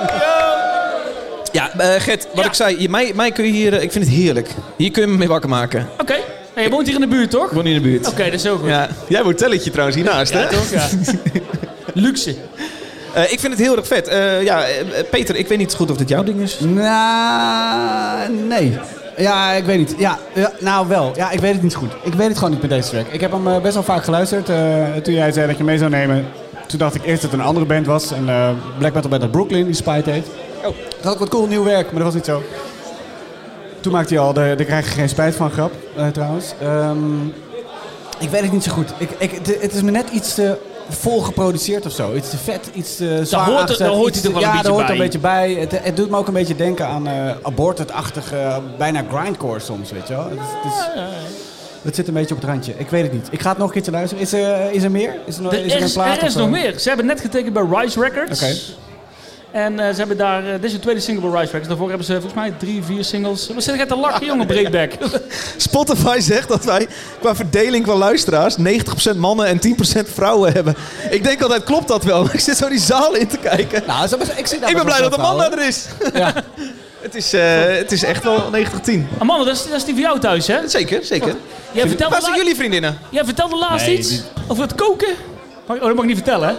[SPEAKER 1] Ja, eh, Gert, wat ik zei, je- mij, mij kun je hier, eh, ik vind het heerlijk. Hier kun je me mee wakker maken.
[SPEAKER 2] Oké. Hey, je woont hier in de buurt, toch?
[SPEAKER 1] Ik woon hier in de buurt.
[SPEAKER 2] Oké, dat is heel goed.
[SPEAKER 1] Ja. Jij wordt telletje trouwens hiernaast,
[SPEAKER 2] Ja,
[SPEAKER 1] hè?
[SPEAKER 2] toch,
[SPEAKER 1] [laughs]
[SPEAKER 2] ja. Luxe.
[SPEAKER 1] Eh, ik vind het heel erg vet. Eh, ja, eh, eh, Peter, ik weet niet goed of dit jouw ding is.
[SPEAKER 4] Nou, nee. Ja, ik weet niet. Ja, ja, nou wel. Ja, ik weet het niet goed. Ik weet het gewoon niet met deze track. Ik heb hem eh, best wel vaak geluisterd. eh, toen jij zei dat je mee zou nemen, toen dacht ik eerst dat het een andere band was. Een eh, black metal band uit Brooklyn die Spite heet. Oh. Dat had ik wat cool nieuw werk, maar dat was niet zo. Toen maakte hij al, de, daar krijg je geen spijt van grap, eh, trouwens. Ehm, ik weet het niet zo goed. Ik, ik, het- het is me net iets te vol geproduceerd of zo. Iets te vet, iets te zwaar
[SPEAKER 2] hoort er-
[SPEAKER 4] aangezet,
[SPEAKER 2] daar hoort
[SPEAKER 4] iets
[SPEAKER 2] hij
[SPEAKER 4] te-
[SPEAKER 2] toch wel een
[SPEAKER 4] ja, daar
[SPEAKER 2] beetje
[SPEAKER 4] hoort er een
[SPEAKER 2] bij.
[SPEAKER 4] beetje bij. Het, het doet me ook een beetje denken aan eh aborted-achtige, eh, bijna grindcore soms, weet je wel. Het, het is- het zit een beetje op het randje. Ik weet het niet. Ik ga het nog een keertje luisteren. Is er, is er meer? Is er, nog-
[SPEAKER 2] Er
[SPEAKER 4] is er een
[SPEAKER 2] is,
[SPEAKER 4] plaat
[SPEAKER 2] er
[SPEAKER 4] of eh,
[SPEAKER 2] is
[SPEAKER 4] zo?
[SPEAKER 2] nog
[SPEAKER 1] eh?
[SPEAKER 2] meer. Ze hebben net getekend bij Rise Records.
[SPEAKER 4] Oké.
[SPEAKER 2] En eh, ze hebben daar, eh, dit is de tweede single bij Rise Records. Daarvoor hebben ze volgens mij drie, vier singles. We zitten echt te lachen, jongen, Breakback.
[SPEAKER 1] [laughs] Spotify [laughs] zegt dat wij qua verdeling van luisteraars 90% mannen en 10% vrouwen hebben. Ik denk altijd, klopt dat wel? [laughs] Maar ik zit zo die zaal in te kijken.
[SPEAKER 4] Nou, zo- ik, zit daar
[SPEAKER 1] ik ben
[SPEAKER 4] best
[SPEAKER 1] blij
[SPEAKER 4] wel
[SPEAKER 1] dat de man
[SPEAKER 4] vrouwen.
[SPEAKER 1] er is. [laughs] het, is eh, het is echt wel 90-10.
[SPEAKER 2] Amanda, dat is, dat is die voor jou thuis, hè?
[SPEAKER 1] Zeker, zeker.
[SPEAKER 2] Jij vertelde
[SPEAKER 1] Waar zijn
[SPEAKER 2] laat-
[SPEAKER 1] jullie vriendinnen?
[SPEAKER 2] Jij vertelde laatst
[SPEAKER 1] Nee,
[SPEAKER 2] iets
[SPEAKER 1] die-
[SPEAKER 2] over het koken. Mag- Oh, dat mag ik niet vertellen, hè?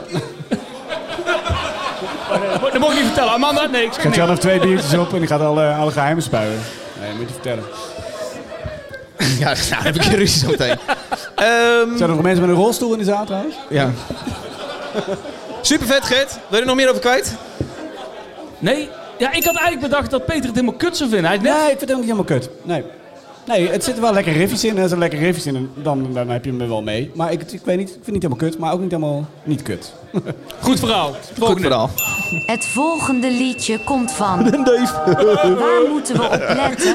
[SPEAKER 2] dat mag ik niet vertellen. Amanda, nee, ik zeg
[SPEAKER 4] Gaat
[SPEAKER 2] niks.
[SPEAKER 4] Jan nog twee biertjes op en die gaat alle, alle geheimen spuien. Nee, moet je vertellen.
[SPEAKER 1] [laughs] Ja, nou heb ik een ruzie zo
[SPEAKER 4] [laughs]
[SPEAKER 1] meteen. Ehm,
[SPEAKER 4] Zijn er nog mensen met een rolstoel in de zaal trouwens? [laughs]
[SPEAKER 1] Ja. Super vet, Gert. Wil je er nog meer over kwijt?
[SPEAKER 2] Nee, ja, ik had eigenlijk bedacht dat Peter het helemaal kut zou vinden. Hij is net...
[SPEAKER 4] Nee, ik vind het ook niet helemaal kut. Nee. Nee, het zitten wel lekker riffjes in. En als er lekker riffjes in, en dan, dan heb je me wel mee. Maar ik, ik weet niet, ik vind het niet helemaal kut, maar ook niet helemaal niet kut.
[SPEAKER 2] Goed verhaal.
[SPEAKER 1] Goed verhaal.
[SPEAKER 5] Het volgende liedje komt van. Waar moeten we op letten?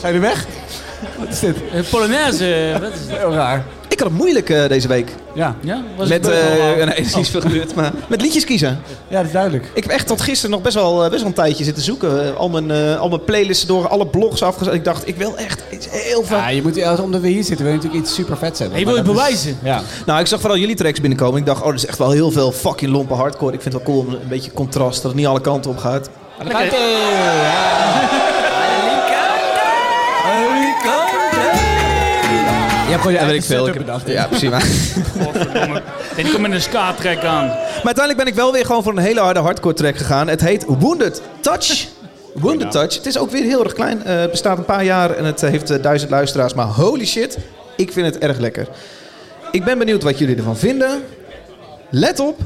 [SPEAKER 4] Zijn jullie weg? Wat is dit?
[SPEAKER 2] Eh, Polonaise, eh, wat is
[SPEAKER 4] Heel raar.
[SPEAKER 1] Ik had het moeilijk eh, deze week.
[SPEAKER 4] Ja.
[SPEAKER 2] Ja, was
[SPEAKER 1] Met,
[SPEAKER 2] het
[SPEAKER 1] eh,
[SPEAKER 2] wel
[SPEAKER 1] nee, er is niet veel gebeurd, maar met liedjes kiezen.
[SPEAKER 4] Ja, dat is duidelijk.
[SPEAKER 1] Ik heb echt tot gisteren nog best wel, eh, best wel een tijdje zitten zoeken. Eh, Al mijn, eh, al mijn playlists door, alle blogs afgezet. Ik dacht, ik wil echt iets heel vet.
[SPEAKER 4] Ja, je moet, als- omdat we hier zitten, wil je natuurlijk iets super vets hebben.
[SPEAKER 1] Je
[SPEAKER 4] Maar
[SPEAKER 1] wil het
[SPEAKER 4] dat is-
[SPEAKER 1] bewijzen.
[SPEAKER 4] ja.
[SPEAKER 1] Nou, ik zag vooral jullie tracks binnenkomen. Ik dacht, oh, er is echt wel heel veel fucking lompe hardcore. Ik vind het wel cool om een beetje contrast, dat het niet alle kanten op gaat.
[SPEAKER 4] Lekker. Je hebt gewoon je
[SPEAKER 1] Dat weet ik veel. Ik heb- ja, precies. Maar.
[SPEAKER 2] Nee, die komt met een ska-track aan.
[SPEAKER 1] Maar uiteindelijk ben ik wel weer gewoon voor een hele harde hardcore track gegaan. Het heet Wounded Touch. Wounded Touch. Het is ook weer heel erg klein. Eh, het bestaat een paar jaar en het eh, heeft eh, duizend luisteraars. Maar holy shit, ik vind het erg lekker. Ik ben benieuwd wat jullie ervan vinden. Let
[SPEAKER 4] [laughs]
[SPEAKER 1] op.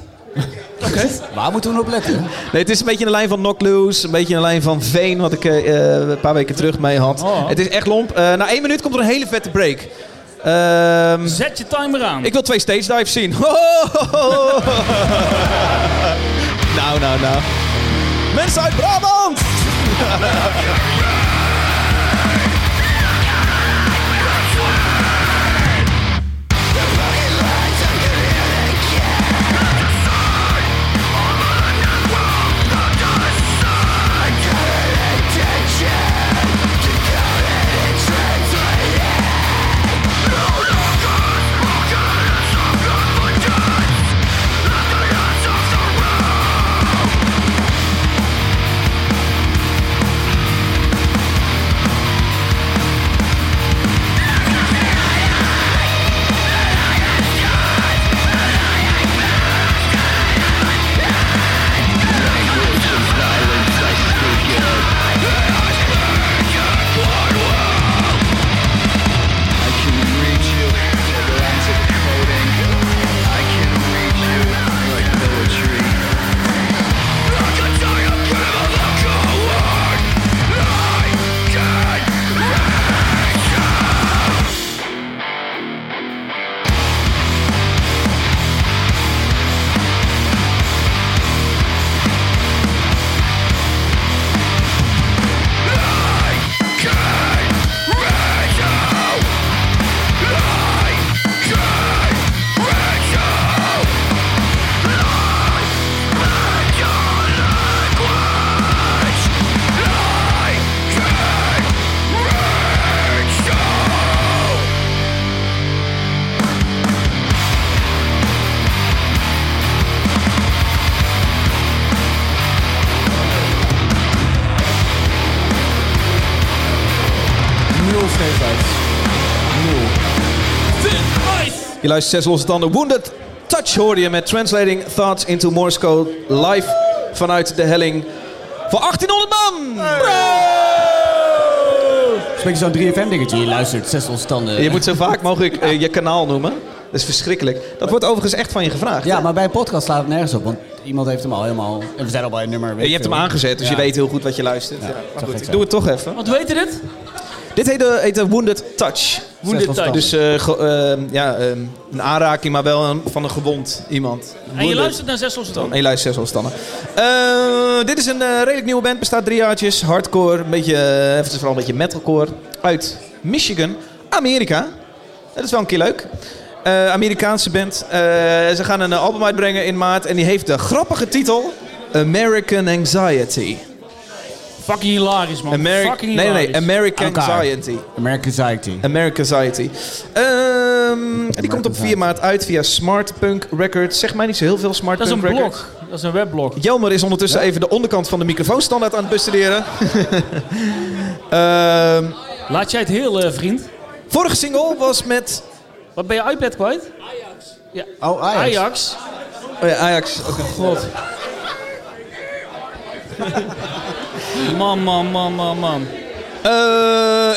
[SPEAKER 4] Waar moeten we nou op letten?
[SPEAKER 1] Nee, het is een beetje in de lijn van Knock Loose. Een beetje in de lijn van Veen, wat ik eh, een paar weken terug mee had.
[SPEAKER 4] Oh.
[SPEAKER 1] Het is echt lomp. Eh, na één minuut komt er een hele vette break. Ehm,
[SPEAKER 2] Zet je timer aan.
[SPEAKER 1] ik wil twee stage dives zien. [laughs] Ho, ho, ho, ho. [laughs] nou, nou, nou. Mensen uit Brabant!
[SPEAKER 3] Yeah.
[SPEAKER 1] Je luistert Zes Losse Tanden. Wounded Touch hoorde je met Translating Thoughts into Morse Code. Live vanuit de helling voor 1800 man.
[SPEAKER 4] Spreek je zo'n 3FM-dingetje? Je luistert zes ontstanden.
[SPEAKER 1] Je moet zo vaak mogelijk eh, je kanaal noemen. Dat is verschrikkelijk. Dat wordt overigens echt van je gevraagd.
[SPEAKER 4] Ja, maar bij een podcast slaat het nergens op. Want iemand heeft hem al helemaal... En we zijn al bij een nummer. weet
[SPEAKER 1] je hebt
[SPEAKER 4] veel.
[SPEAKER 1] hem aangezet, dus
[SPEAKER 4] Ja.
[SPEAKER 1] je weet heel goed wat je luistert. Ja, maar
[SPEAKER 4] zou gek
[SPEAKER 1] goed, ik
[SPEAKER 4] zijn.
[SPEAKER 1] doe het toch even.
[SPEAKER 2] Wat heette dit?
[SPEAKER 1] Dit heette, heette eh, Wounded Touch.
[SPEAKER 2] Wounded Zes Touch.
[SPEAKER 1] Dus eh, ge- ehm, ja, ehm, een aanraking, maar wel een- van een gewond iemand.
[SPEAKER 2] En je
[SPEAKER 1] Wounded.
[SPEAKER 2] luistert naar Zes Losse
[SPEAKER 1] Dan
[SPEAKER 2] Tanden.
[SPEAKER 1] een lijst zes afstanden. Eh, dit is een eh, redelijk nieuwe band, bestaat drie jaartjes. Hardcore, een beetje, eh, het is vooral een beetje metalcore. Uit Michigan, Amerika. Dat is wel een keer leuk. Eh, Amerikaanse band. Eh, ze gaan een eh, album uitbrengen in maart en die heeft de grappige titel American Anxiety.
[SPEAKER 2] Fucking hilarisch, man.
[SPEAKER 1] Ameri-
[SPEAKER 2] Oh, Fucking
[SPEAKER 1] nee, nee,
[SPEAKER 2] hilarisch.
[SPEAKER 1] nee, American Anxiety.
[SPEAKER 4] American Anxiety.
[SPEAKER 1] American Anxiety. Ehm, en die komt op 4 maart uit via Smart Punk Records. Zeg mij niet zo heel veel Smart
[SPEAKER 2] Dat is een
[SPEAKER 1] Punk Records.
[SPEAKER 2] blog. Dat is een webblog.
[SPEAKER 1] Jelmer is ondertussen even de onderkant van de microfoonstandaard aan het bestuderen. Ehm,
[SPEAKER 2] Laat jij het heel, eh, vriend.
[SPEAKER 1] Vorige single was met...
[SPEAKER 2] Wat ben je iPad kwijt? Ja.
[SPEAKER 4] Oh,
[SPEAKER 2] Ajax.
[SPEAKER 1] oh ja, Ajax. oké.
[SPEAKER 2] God. man, man, man, man, man.
[SPEAKER 1] Eh,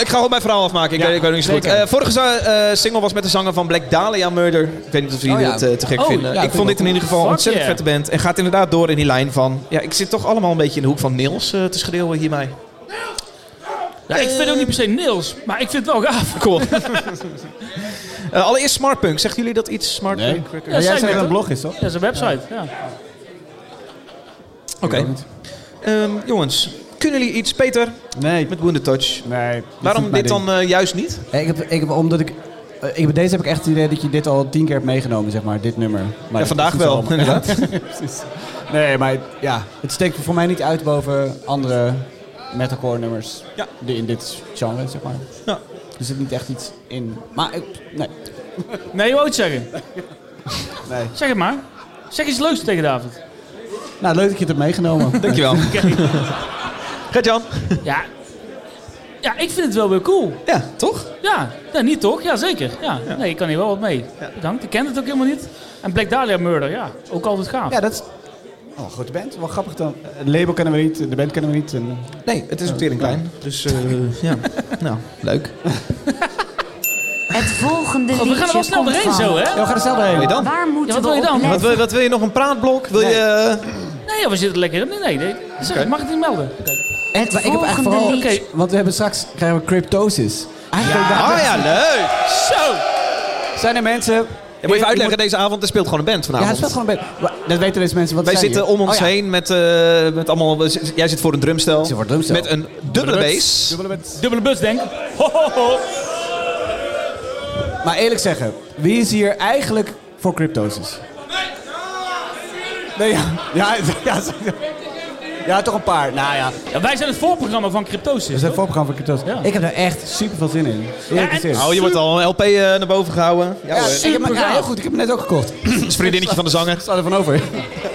[SPEAKER 1] ik ga gewoon mijn verhaal afmaken. Ik,
[SPEAKER 2] Ja,
[SPEAKER 1] weet, ik weet niet zo goed.
[SPEAKER 2] zeker.
[SPEAKER 1] Eh, vorige za- eh, single was met de zanger van Black Dahlia Murder. Ik weet niet of jullie
[SPEAKER 2] Oh ja.
[SPEAKER 1] dat eh, te gek
[SPEAKER 2] Oh,
[SPEAKER 1] vinden.
[SPEAKER 2] ja,
[SPEAKER 1] ik
[SPEAKER 2] vind
[SPEAKER 1] vond dit
[SPEAKER 2] ik
[SPEAKER 1] in
[SPEAKER 2] wel
[SPEAKER 1] ieder geval een
[SPEAKER 2] cool. Fuck
[SPEAKER 1] ontzettend vette band. En gaat inderdaad door in die lijn van... Ja, ik zit toch allemaal een beetje in de hoek van Niels eh, te schreeuwen hiermee.
[SPEAKER 2] Ja, ik vind ook niet per se Niels, maar ik vind het wel gaaf.
[SPEAKER 1] Cool.
[SPEAKER 2] [laughs]
[SPEAKER 1] Eh, allereerst Smartpunk. Zeggen jullie dat iets? Smartpunk? Records?
[SPEAKER 4] Maar jij zei dat het een blog is, toch?
[SPEAKER 2] Ja, dat is een website. Ja.
[SPEAKER 1] Oké. Ehm, jongens, kunnen jullie iets, Peter?
[SPEAKER 4] Nee.
[SPEAKER 1] Met Wounded Touch.
[SPEAKER 4] Nee.
[SPEAKER 1] Waarom dit dan eh, juist niet?
[SPEAKER 4] ik heb, ik heb, omdat ik, eh, ik, bij deze heb ik echt het idee dat je dit al tien keer hebt meegenomen, zeg maar, dit nummer. Maar
[SPEAKER 1] Ja, vandaag
[SPEAKER 4] dat is
[SPEAKER 1] wel,
[SPEAKER 4] allemaal-
[SPEAKER 1] inderdaad.
[SPEAKER 4] Precies. [laughs] nee, maar ja, het steekt voor mij niet uit boven andere metalcore nummers
[SPEAKER 1] Ja.
[SPEAKER 4] die in dit genre, zeg maar.
[SPEAKER 1] Ja.
[SPEAKER 4] Er zit niet echt iets in. Maar ik- nee.
[SPEAKER 2] Nee, je wou het zeggen.
[SPEAKER 4] Nee.
[SPEAKER 2] Zeg het maar. Zeg iets leuks tegen David.
[SPEAKER 4] Nou, leuk dat je het hebt meegenomen. [laughs]
[SPEAKER 1] Dankjewel. Gert-Jan?
[SPEAKER 2] Ja. Ja, ik vind het wel weer cool.
[SPEAKER 1] Ja, toch?
[SPEAKER 2] Ja, nee, niet toch? Ja, zeker. Ja. Nee, ik kan hier wel wat mee. Bedankt. Ik ken het ook helemaal niet. En Black Dahlia Murder, ja. Ook altijd gaaf.
[SPEAKER 4] Ja, dat is... Oh, goed band. Wel grappig dan. Eh, Het label kennen we niet, de band kennen we niet. En...
[SPEAKER 1] Nee, het is ook weer een klein. Dus eh, ja, nou, leuk.
[SPEAKER 5] Het volgende
[SPEAKER 2] God,
[SPEAKER 5] liedje
[SPEAKER 2] Oh, we gaan er wel snel
[SPEAKER 5] komt
[SPEAKER 2] doorheen
[SPEAKER 5] van-
[SPEAKER 2] zo, hè?
[SPEAKER 4] Ja, we gaan er snel doorheen.
[SPEAKER 1] Wil je dan?
[SPEAKER 5] Waar moeten
[SPEAKER 2] Ja, wat
[SPEAKER 5] we
[SPEAKER 2] wil je
[SPEAKER 5] op
[SPEAKER 2] dan?
[SPEAKER 5] letten?
[SPEAKER 1] Wat wil, wat wil je nog, een praatblok? Wil je... eh,
[SPEAKER 2] Nee, ja, we zitten lekker in. Nee, nee. nee. Zeg,
[SPEAKER 1] Oké.
[SPEAKER 2] Ik mag het niet melden.
[SPEAKER 4] En, maar ik heb eigenlijk
[SPEAKER 5] volgende
[SPEAKER 4] vooral...
[SPEAKER 5] liedje.
[SPEAKER 4] Oké, Want we hebben straks krijgen we cryptosis. Oh, Eigenlijk dacht
[SPEAKER 1] Ah
[SPEAKER 4] ik-
[SPEAKER 1] ja, leuk!
[SPEAKER 2] Zo!
[SPEAKER 4] Zijn er mensen...
[SPEAKER 1] Ik moet even uitleggen, deze avond er speelt gewoon een band
[SPEAKER 4] Ja,
[SPEAKER 1] vanavond.
[SPEAKER 4] het speelt gewoon een band. Maar Dat weten deze mensen. Wat
[SPEAKER 1] Wij
[SPEAKER 4] zijn
[SPEAKER 1] zitten
[SPEAKER 4] hier.
[SPEAKER 1] om ons
[SPEAKER 4] Oh ja.
[SPEAKER 1] heen met, eh, met allemaal... we zit- Jij zit voor een drumstel.
[SPEAKER 4] zit voor een drumstel.
[SPEAKER 1] Met een dubbele bass.
[SPEAKER 4] Dubbele band.
[SPEAKER 2] Dubbele bus, denk ik. Ho, ho, ho.
[SPEAKER 4] Maar eerlijk zeggen, wie is hier eigenlijk voor cryptosis? Nee, ja. Ja, [laughs] ja, ja, ja, toch een paar. Nou ja,
[SPEAKER 2] Ja, wij zijn het voorprogramma van Cryptosis.
[SPEAKER 4] we zijn voorprogramma voor cryptosis.
[SPEAKER 2] Ja.
[SPEAKER 4] Ik heb daar echt super veel zin in.
[SPEAKER 2] Ja,
[SPEAKER 4] Eerlijk
[SPEAKER 2] en-
[SPEAKER 4] gezegd.
[SPEAKER 1] Oh, je wordt al een LP eh, naar boven gehouden. Ja,
[SPEAKER 4] Ja,
[SPEAKER 1] hoor.
[SPEAKER 4] ik heb, hem- ja,
[SPEAKER 2] gaaf.
[SPEAKER 4] heel goed. Ik heb hem net ook gekocht. Ik
[SPEAKER 1] Dat is vriendinnetje van de zanger.
[SPEAKER 4] sta er van over.
[SPEAKER 1] Oh nee.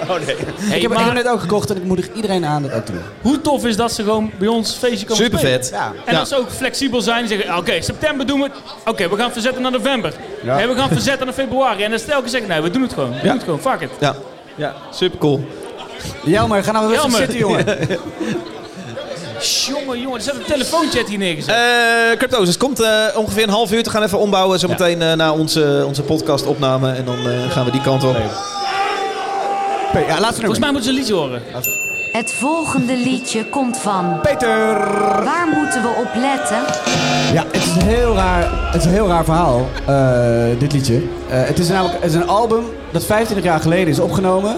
[SPEAKER 2] Hey,
[SPEAKER 4] ik, heb, ik
[SPEAKER 2] maar
[SPEAKER 4] heb hem net ook gekocht en ik moedig iedereen aan dat ook te doen.
[SPEAKER 2] hoe tof is dat ze gewoon bij ons feestje komen
[SPEAKER 1] Super
[SPEAKER 2] spelen?
[SPEAKER 1] vet.
[SPEAKER 4] Ja.
[SPEAKER 2] En
[SPEAKER 1] Ja.
[SPEAKER 2] dat ze ook flexibel zijn en zeggen, oké, september doen we het. Oké, we gaan verzetten naar november.
[SPEAKER 4] Ja.
[SPEAKER 2] Nee, we gaan verzetten naar februari. En dan stel ik zeggen, nee, we doen het gewoon. We doen het gewoon, fuck it.
[SPEAKER 1] Ja. Ja, super cool.
[SPEAKER 4] Jelmer, ga nou weer
[SPEAKER 2] Jelmer.
[SPEAKER 4] rustig zitten, jongen.
[SPEAKER 2] Jongen, jongen, er zet een telefoonchat hier neergezet.
[SPEAKER 1] Eh Cryptosis komt eh, ongeveer een half uur. Te gaan even ombouwen zometeen eh na onze, onze podcastopname. En dan eh, gaan we die kant op.
[SPEAKER 4] Pe- Ja, laatste
[SPEAKER 2] Volgens
[SPEAKER 4] nummer.
[SPEAKER 2] mij moeten ze een liedje horen.
[SPEAKER 5] Het volgende liedje komt van...
[SPEAKER 4] Peter!
[SPEAKER 5] Waar moeten we op letten?
[SPEAKER 4] Ja, het is een heel raar, het is een heel raar verhaal, eh, dit liedje. Eh, het is namelijk het is een album dat 25 jaar geleden is opgenomen.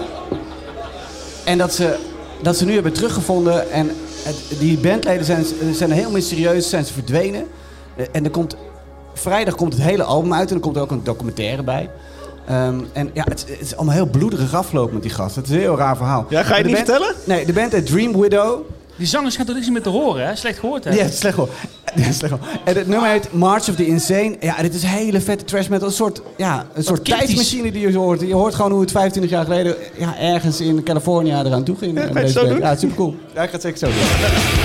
[SPEAKER 4] En dat ze, dat ze nu hebben teruggevonden. En het- die bandleden zijn, zijn heel mysterieus, zijn ze verdwenen. Eh, en er komt, vrijdag komt het hele album uit en er komt ook een documentaire bij. Ehm, en ja, het, het is allemaal heel bloederig afloop met die gast. Het is een heel raar verhaal.
[SPEAKER 1] Ja, ga je
[SPEAKER 4] De
[SPEAKER 1] het niet
[SPEAKER 4] band-
[SPEAKER 1] vertellen?
[SPEAKER 4] Nee, de band heet Dream Widow.
[SPEAKER 2] Die zangers gaan toch niks meer te horen, hè? Slecht gehoord, hè?
[SPEAKER 4] Ja, het is slecht hoor. [laughs] Ja, het is slecht hoor. En het nummer heet March of the Insane. Ja, dit is hele vette trash metal. Een soort, ja, een soort
[SPEAKER 2] cryptisch.
[SPEAKER 4] tijdsmachine die je hoort. Je hoort gewoon hoe het 25 jaar geleden ja, ergens in Californië eraan toe ging.
[SPEAKER 1] ga je het zo doen?
[SPEAKER 4] Ja, super cool. Ja, ik ga het zeker zo doen.
[SPEAKER 6] March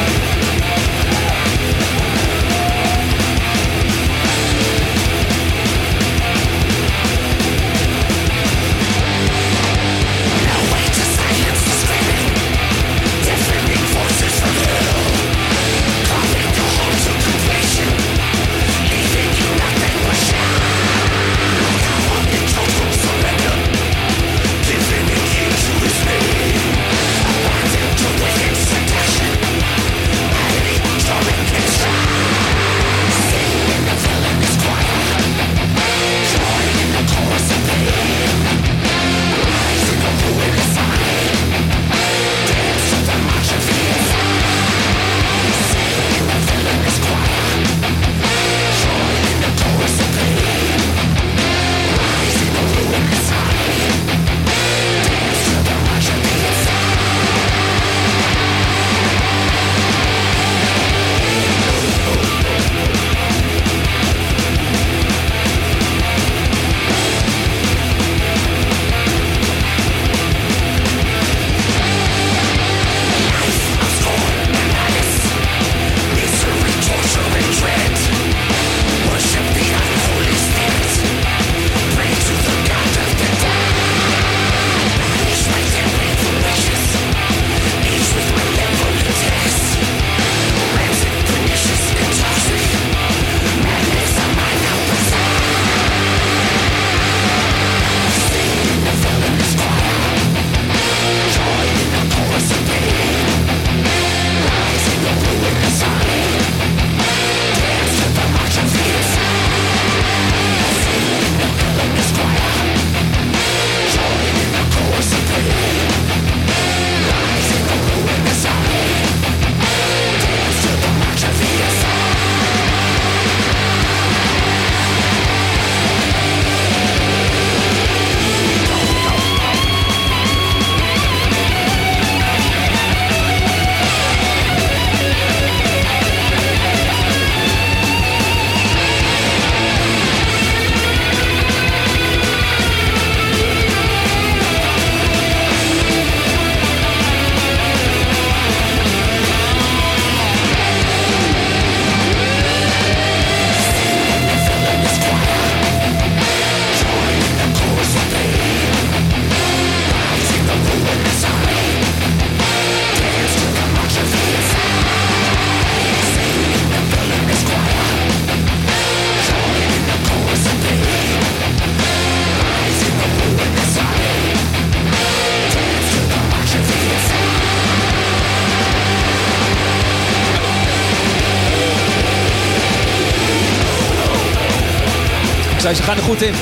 [SPEAKER 1] Zij ze gaan er goed in.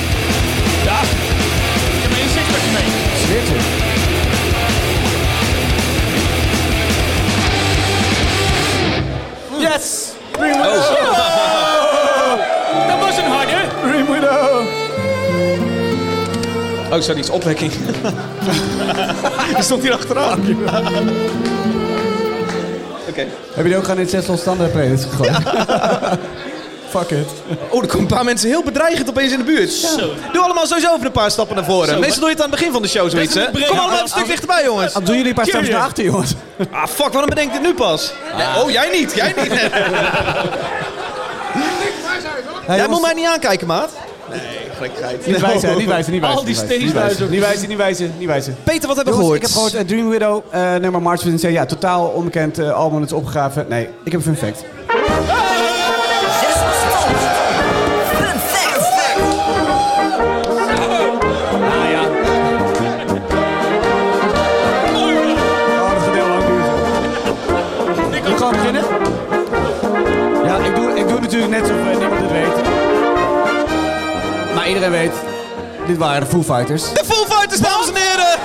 [SPEAKER 2] Ja. Ik heb een zichtbaar mee.
[SPEAKER 1] Zweert u.
[SPEAKER 2] Yes! Green Widow!
[SPEAKER 1] Oh.
[SPEAKER 2] Dat was een harde. Green Widow!
[SPEAKER 1] Oh, sorry, iets opwekking. [laughs] Die stond hier achteraan. Oké.
[SPEAKER 4] Heb je die ook gewoon in zes losstanden playlist gegooid? [laughs]
[SPEAKER 1] Fuck it. Oh, er komen een paar mensen heel bedreigend opeens in de buurt.
[SPEAKER 4] Zo.
[SPEAKER 1] Doe allemaal sowieso even een paar stappen naar voren.
[SPEAKER 4] Zo,
[SPEAKER 1] Meestal
[SPEAKER 4] maar-
[SPEAKER 1] doe je het aan het begin van de show zoiets,
[SPEAKER 4] Dat is
[SPEAKER 1] hè?
[SPEAKER 4] een break.
[SPEAKER 1] Kom allemaal een stuk dichterbij, jongens.
[SPEAKER 4] Dan doen jullie een paar stappen naar achter, jongens.
[SPEAKER 1] Ah, fuck, waarom bedenk ik dit nu pas? Nee, oh, jij niet, [laughs] jij niet. jij moet mij niet aankijken, maat. Nee, gekkigheid.
[SPEAKER 4] Niet wijzen, [laughs] niet wijzen, niet wijzen. niet wijzen, niet wijzen,
[SPEAKER 1] steeds
[SPEAKER 4] Niet wijzen, niet wijzen, niet wijzen.
[SPEAKER 1] [laughs] Peter, wat hebben we
[SPEAKER 4] Jongens,
[SPEAKER 1] gehoord?
[SPEAKER 4] Ik heb gehoord eh, Dream Widow, eh nummer March Within Zee. Ja, totaal onbekend eh, album, het is opgegraven. Nee, ik heb een fun fact. Moet ik gewoon beginnen? Ja, ik doe, ik doe natuurlijk net alsof eh, niemand het weet. Maar iedereen weet, dit waren de Foo Fighters.
[SPEAKER 1] De Foo Fighters, dames en heren!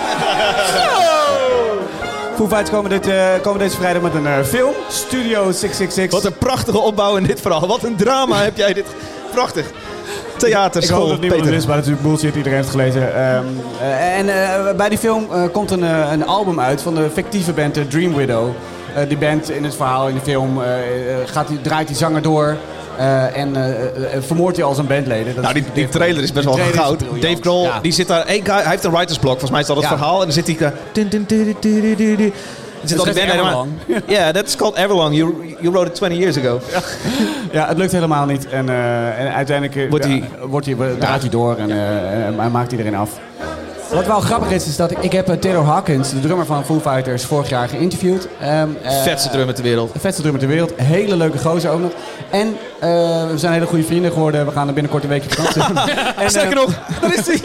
[SPEAKER 4] Foo Fighters komen, dit, eh, komen deze vrijdag met een eh, film. Studio 666.
[SPEAKER 1] Wat een prachtige opbouw in dit verhaal. Wat een drama heb jij dit. Prachtig. Theater,
[SPEAKER 4] Ik hoop
[SPEAKER 1] school,
[SPEAKER 4] dat niemand het
[SPEAKER 1] Peter.
[SPEAKER 4] is, maar natuurlijk bullshit. Iedereen heeft het gelezen. Ehm, eh, en eh, bij die film eh, komt een, eh, een album uit van de fictieve band eh, Dream Widow. Eh, die band in het verhaal, in de film, eh, eh, gaat die, draait die zanger door. eh, en eh, eh, eh, vermoordt hij al zijn bandleden. Dat
[SPEAKER 1] Nou, die, die trailer is best wel
[SPEAKER 4] trailer is
[SPEAKER 1] goud.
[SPEAKER 4] briljant.
[SPEAKER 1] Dave Grohl, die zit daar... één keer- hij heeft een writersblok, volgens mij is dat het
[SPEAKER 4] Ja.
[SPEAKER 1] verhaal. En dan zit hij daar... dun, dun, dun, dun, dun, dun, dun, dun. Er
[SPEAKER 4] Dat
[SPEAKER 1] zit al die
[SPEAKER 4] is
[SPEAKER 1] band helemaal... Yeah, that's called Everlong. You, you wrote it 20 years ago.
[SPEAKER 4] Ja, het lukt helemaal niet. En, eh, en uiteindelijk eh,
[SPEAKER 1] Wordt hij-
[SPEAKER 4] ja, wordt hij, draait hij door en, eh, en- en maakt iedereen af. Wat wel grappig is, is dat ik, ik heb eh, Taylor Hawkins, de drummer van Foo Fighters, vorig jaar geïnterviewd. Ehm, eh,
[SPEAKER 1] Vetste drummer ter wereld.
[SPEAKER 4] de vetste drummer ter wereld. Hele leuke gozer ook nog. En eh, we zijn hele goede vrienden geworden. We gaan er binnenkort een weekje op [laughs] vakantie. En,
[SPEAKER 1] Sterker
[SPEAKER 4] eh,
[SPEAKER 1] nog,
[SPEAKER 4] [laughs]
[SPEAKER 1] daar is hij.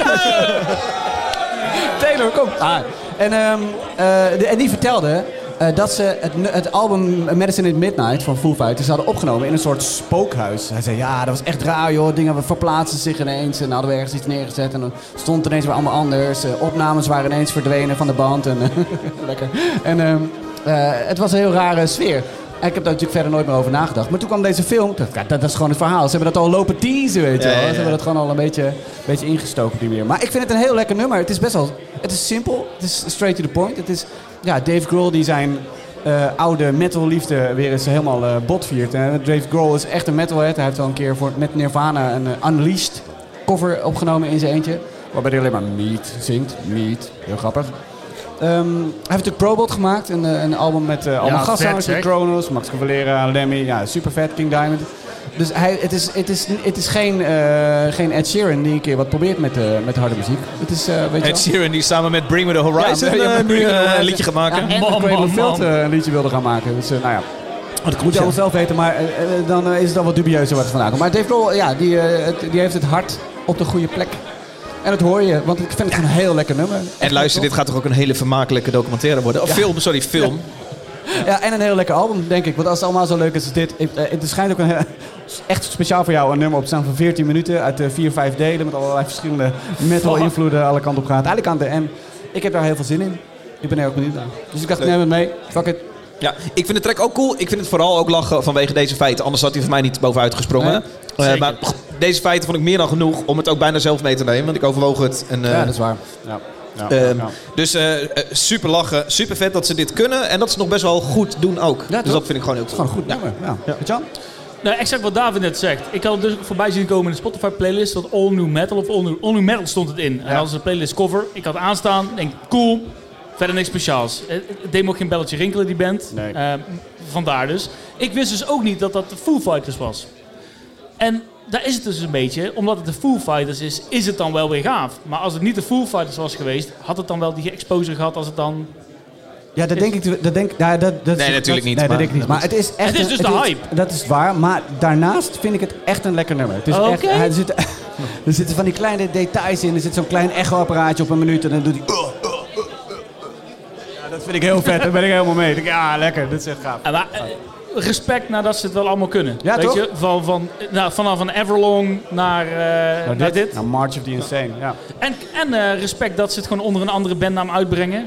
[SPEAKER 4] Taylor, kom. Ah. En, ehm, eh, de- en die vertelde eh, dat ze het, nu- het album Medicine at Midnight van Foo Fighters hadden opgenomen in een soort spookhuis. Hij zei, ja, dat was echt raar joh. Dingen verplaatsten zich ineens en hadden we ergens iets neergezet. En dan stond het ineens weer allemaal anders. Eh, opnames waren ineens verdwenen van de band. En, [laughs] lekker. En ehm, eh, het was een heel rare sfeer. En ik heb daar natuurlijk verder nooit meer over nagedacht. Maar toen kwam deze film. Ik dacht, ja, dat, dat is gewoon het verhaal. Ze hebben dat al lopen teasen, weet je
[SPEAKER 1] Ja,
[SPEAKER 4] wel.
[SPEAKER 1] ja,
[SPEAKER 4] Ze
[SPEAKER 1] ja.
[SPEAKER 4] hebben dat gewoon al een beetje, een beetje ingestoken op die manier. Maar ik vind het een heel lekker nummer. Het is best wel... Het is simpel. Het is straight to the point. Het is... Ja, Dave Grohl die zijn eh, oude metalliefde weer eens helemaal eh, bot viert. En Dave Grohl is echt een metalhead. Hij heeft al een keer voor, met Nirvana een eh, Unleashed cover opgenomen in zijn eentje. Waarbij hij alleen maar meat zingt. Meat. Heel grappig. Ehm, hij heeft natuurlijk Probot gemaakt. Een, eh, een album met eh, allemaal
[SPEAKER 7] vet,
[SPEAKER 4] gastzangers.
[SPEAKER 7] zeg.
[SPEAKER 4] met Kronos, Max Cavalera, Lemmy. Ja, super vet. King Diamond. Dus hij, het, is, het, is, het is geen, eh, geen Ed Sheeran die een keer wat probeert met, eh, met harde muziek. Het is, eh, weet je
[SPEAKER 1] Ed Sheeran die samen met Bring Me The Horizon
[SPEAKER 4] ja,
[SPEAKER 1] eh,
[SPEAKER 4] [laughs] met
[SPEAKER 1] nu
[SPEAKER 4] Bring Me The
[SPEAKER 1] eh,
[SPEAKER 4] Horizon.
[SPEAKER 1] een liedje gaat maken.
[SPEAKER 4] Ja, en dat Cradle of Filth, eh, een liedje wilde gaan maken. Dus eh, nou ja. dat moet je allemaal zelf weten, maar eh, eh, dan eh, is het al wat dubieuzer wat er vandaan komt. Maar Dave Grohl, ja, die, eh, het- die heeft het hart op de goede plek. En dat hoor je, want ik vind het gewoon een heel lekker nummer.
[SPEAKER 1] En luister, dit gaat toch ook een hele vermakelijke documentaire worden? Oh,
[SPEAKER 4] Ja.
[SPEAKER 1] film, sorry, film.
[SPEAKER 4] Ja, en een heel lekker album, denk ik. Want als het allemaal zo leuk is als dit... ik- eh, Het schijnt ook een, heel- [laughs] echt speciaal voor jou een nummer op te staan van 14 minuten... uit eh, vier, vijf delen met allerlei verschillende metal-invloeden alle kanten op gaat. Alle kanten. En ik heb daar heel veel zin in. Ik ben er ook benieuwd naar. Dus ik dacht,
[SPEAKER 1] Leuk.
[SPEAKER 4] neem het mee. Fuck it.
[SPEAKER 1] Ja, ik vind de track ook cool. Ik vind het vooral ook lachen vanwege deze feiten. Anders had hij voor mij niet bovenuit gesprongen.
[SPEAKER 4] Nee,
[SPEAKER 1] Eh, maar pff, deze feiten vond ik meer dan genoeg om het ook bijna zelf mee te nemen. Want ik overwoog het. En, eh,
[SPEAKER 4] Ja, dat is waar. Ja. Ja,
[SPEAKER 1] ehm,
[SPEAKER 4] ja.
[SPEAKER 1] Dus eh, eh, super lachen. Super vet dat ze dit kunnen. En dat ze nog best wel goed doen ook. dus dat vind ik gewoon heel cool.
[SPEAKER 4] Gewoon goed nummer. Ja. Jan?
[SPEAKER 2] Nou, exact wat David net zegt. Ik had het dus ook voorbij zien komen in de Spotify playlist. Dat All New Metal of All New, All New Metal stond het in. En dan hadden ze een playlist cover. Ik had aanstaan. Denk, cool. Verder niks speciaals. Eh, Het deed me ook geen belletje rinkelen, die band. Eh, vandaar dus. Ik wist dus ook niet dat dat de Foo Fighters was. En daar is het dus een beetje. Omdat het de Foo Fighters is, is het dan wel weer gaaf. Maar als het niet de Foo Fighters was geweest, had het dan wel die exposure gehad als het dan...
[SPEAKER 4] Ja, dat denk ik. Dat denk, ja, dat, dat,
[SPEAKER 1] Nee,
[SPEAKER 4] dat-
[SPEAKER 1] natuurlijk niet, maar-
[SPEAKER 4] Nee, dat denk ik niet. Maar het is echt.
[SPEAKER 2] Het is dus de hype.
[SPEAKER 4] dat is waar. Maar daarnaast vind ik het echt een lekker nummer. Het is
[SPEAKER 2] Oké.
[SPEAKER 4] echt. hij- Er zitten, [laughs] er zitten van die kleine details in. Er zit zo'n klein echo-apparaatje op een minuut en dan doet hij. Ja, dat vind ik heel vet. Daar ben ik helemaal mee. Ik denk, ja, lekker. Dit is echt gaaf.
[SPEAKER 2] Eh, maar, eh, respect nadat ze het wel allemaal kunnen.
[SPEAKER 4] Ja,
[SPEAKER 2] Weet
[SPEAKER 4] toch?
[SPEAKER 2] Je? Van, van, nou, vanaf een Everlong naar, eh, naar, dit.
[SPEAKER 4] Nou, March of the Insane, ja.
[SPEAKER 2] En, en eh, respect dat ze het gewoon onder een andere bandnaam uitbrengen.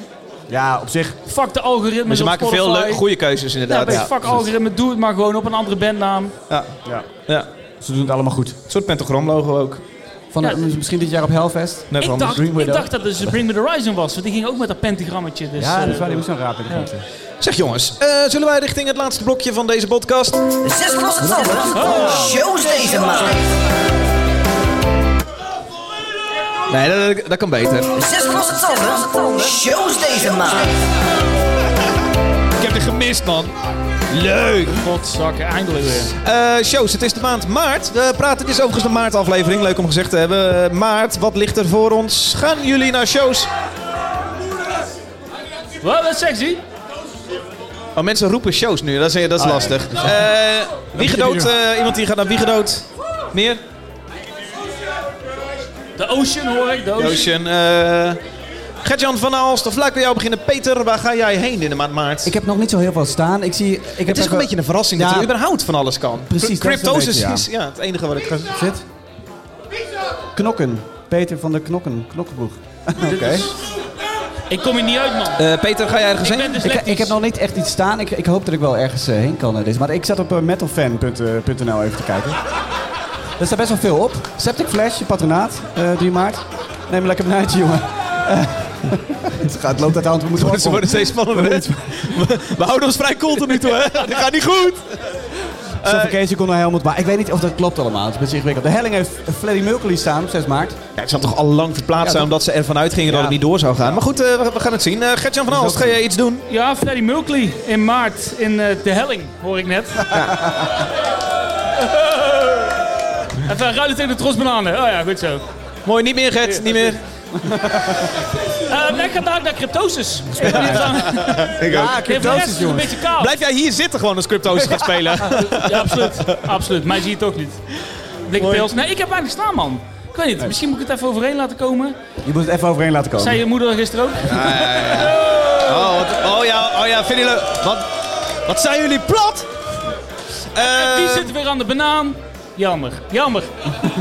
[SPEAKER 4] Ja, op zich.
[SPEAKER 2] Fuck de algoritmes
[SPEAKER 1] Maar Dus ze
[SPEAKER 2] op
[SPEAKER 1] maken veel
[SPEAKER 2] Spotify.
[SPEAKER 1] leuke, goede keuzes
[SPEAKER 2] Ja,
[SPEAKER 1] inderdaad.
[SPEAKER 2] weet je, fuck algoritme, doe het maar gewoon op een andere bandnaam.
[SPEAKER 1] Ja.
[SPEAKER 4] Ja.
[SPEAKER 1] ja.
[SPEAKER 4] Ze doen het allemaal goed.
[SPEAKER 1] Een soort pentagramlogo ook.
[SPEAKER 4] Van
[SPEAKER 2] Ja.
[SPEAKER 4] misschien dit jaar op Hellfest?
[SPEAKER 1] Nee,
[SPEAKER 2] Ik dacht, ik dacht dat het dus Bring Me The Horizon was, want die ging ook met dat pentagrammetje. Dus,
[SPEAKER 4] Ja, dat is
[SPEAKER 2] eh,
[SPEAKER 4] waar, die moest zo'n raap in de gaten.
[SPEAKER 1] Zeg jongens, eh, zullen wij richting het laatste blokje van deze podcast?
[SPEAKER 3] Zes losse tanden.
[SPEAKER 2] Oh.
[SPEAKER 3] Shows deze maand.
[SPEAKER 1] Nee, dat, dat- dat kan beter.
[SPEAKER 3] Zes losse tanden. Shows deze maand.
[SPEAKER 1] Ik heb dit gemist, man. Leuk.
[SPEAKER 2] Godzakken, eindelijk weer.
[SPEAKER 1] Eh, shows, het is de maand maart. We praten, dit is overigens de maartaflevering, leuk om gezegd te hebben. Eh, maart, wat ligt er voor ons? Gaan jullie naar shows?
[SPEAKER 2] Wat, dat is sexy.
[SPEAKER 1] Oh, mensen roepen shows nu, dat is, dat is
[SPEAKER 2] Ah, ja.
[SPEAKER 1] lastig.
[SPEAKER 2] Dat is-
[SPEAKER 1] Eh Wiegedood,
[SPEAKER 2] Dat moet je
[SPEAKER 1] eh, iemand die gaat naar Wiegedood. Meer?
[SPEAKER 2] De Ocean hoor ik, de Ocean.
[SPEAKER 1] Ocean. eh Gert-Jan van Aalst, of laat ik bij jou beginnen. Peter, waar ga jij heen in de maand maart?
[SPEAKER 4] Ik heb nog niet zo heel veel staan. Ik zie, ik heb
[SPEAKER 1] het is ook
[SPEAKER 4] even-
[SPEAKER 1] een beetje een verrassing dat
[SPEAKER 4] Ja.
[SPEAKER 1] er überhaupt van alles kan.
[SPEAKER 4] Precies, dat is een
[SPEAKER 1] Cryptosis
[SPEAKER 4] beetje, ja.
[SPEAKER 1] is ja, het enige wat ik ga...
[SPEAKER 4] Zit. Knokken. Peter van de Knokken. [laughs] Knokkenbroeg. Oké.
[SPEAKER 2] Ik kom hier niet uit, man.
[SPEAKER 1] Eh, Peter, ga jij ergens
[SPEAKER 2] Ik ben dus
[SPEAKER 4] Ik,
[SPEAKER 2] dyslectisch.
[SPEAKER 4] ik heb nog niet echt iets staan. Ik, ik hoop dat ik wel ergens eh, heen kan eh, deze maand. Ik zat op eh, metalfan.nl even te kijken. Er staat best wel veel op. Septic Flash, je patronaat, eh 3 maart. Neem een lekker benadje, jongen. Eh, [laughs] het gaat, loopt uit de hand. We moeten
[SPEAKER 1] [laughs] Het
[SPEAKER 4] opkomen.
[SPEAKER 1] worden steeds spannender. hè? We, we houden ons vrij cool tot nu toe, [laughs] hè? Dit gaat niet goed.
[SPEAKER 4] Suffocation kon naar Helmut Maar Ik weet niet of dat klopt allemaal. Het is best ingewikkeld. De Helling heeft Freddy Mercury staan op 6 maart.
[SPEAKER 1] Ja, het zal toch al lang verplaatst
[SPEAKER 4] Ja,
[SPEAKER 1] zijn
[SPEAKER 4] dat-
[SPEAKER 1] omdat ze ervan uitgingen dat
[SPEAKER 4] Ja.
[SPEAKER 1] het niet door zou gaan. Maar goed, eh, we, we gaan het zien. Eh Gert-Jan van Aalst, ga jij iets doen?
[SPEAKER 2] Ja, Freddy Mercury in maart in eh, De Helling, hoor ik net. [laughs] Even ruilen tegen de tros bananen. Oh ja, goed zo.
[SPEAKER 1] Mooi, niet meer Gert, niet meer.
[SPEAKER 2] Eh, nee, ik ga dadelijk naar Cryptosis. Ik ben hier van-
[SPEAKER 1] Ik
[SPEAKER 2] Ja, ook. Cryptosis, Nee, voor de rest is het een jongens. beetje
[SPEAKER 1] [laughs]
[SPEAKER 2] koud.
[SPEAKER 1] Blijf jij hier zitten gewoon als Cryptosis gaat spelen?
[SPEAKER 2] Ja, absoluut. Absoluut. Mij zie je toch niet. Blik pils. Nee, ik heb weinig staan, man. Ik weet niet, misschien moet ik het even overeen laten komen.
[SPEAKER 4] Je moet het even overheen laten komen.
[SPEAKER 2] Zei je moeder gisteren ook?
[SPEAKER 1] [laughs] Oh, wat- oh ja, oh ja, vind je leuk? Wat, wat zijn jullie plat? Eh,
[SPEAKER 2] En die zit weer aan de banaan. Jammer, jammer.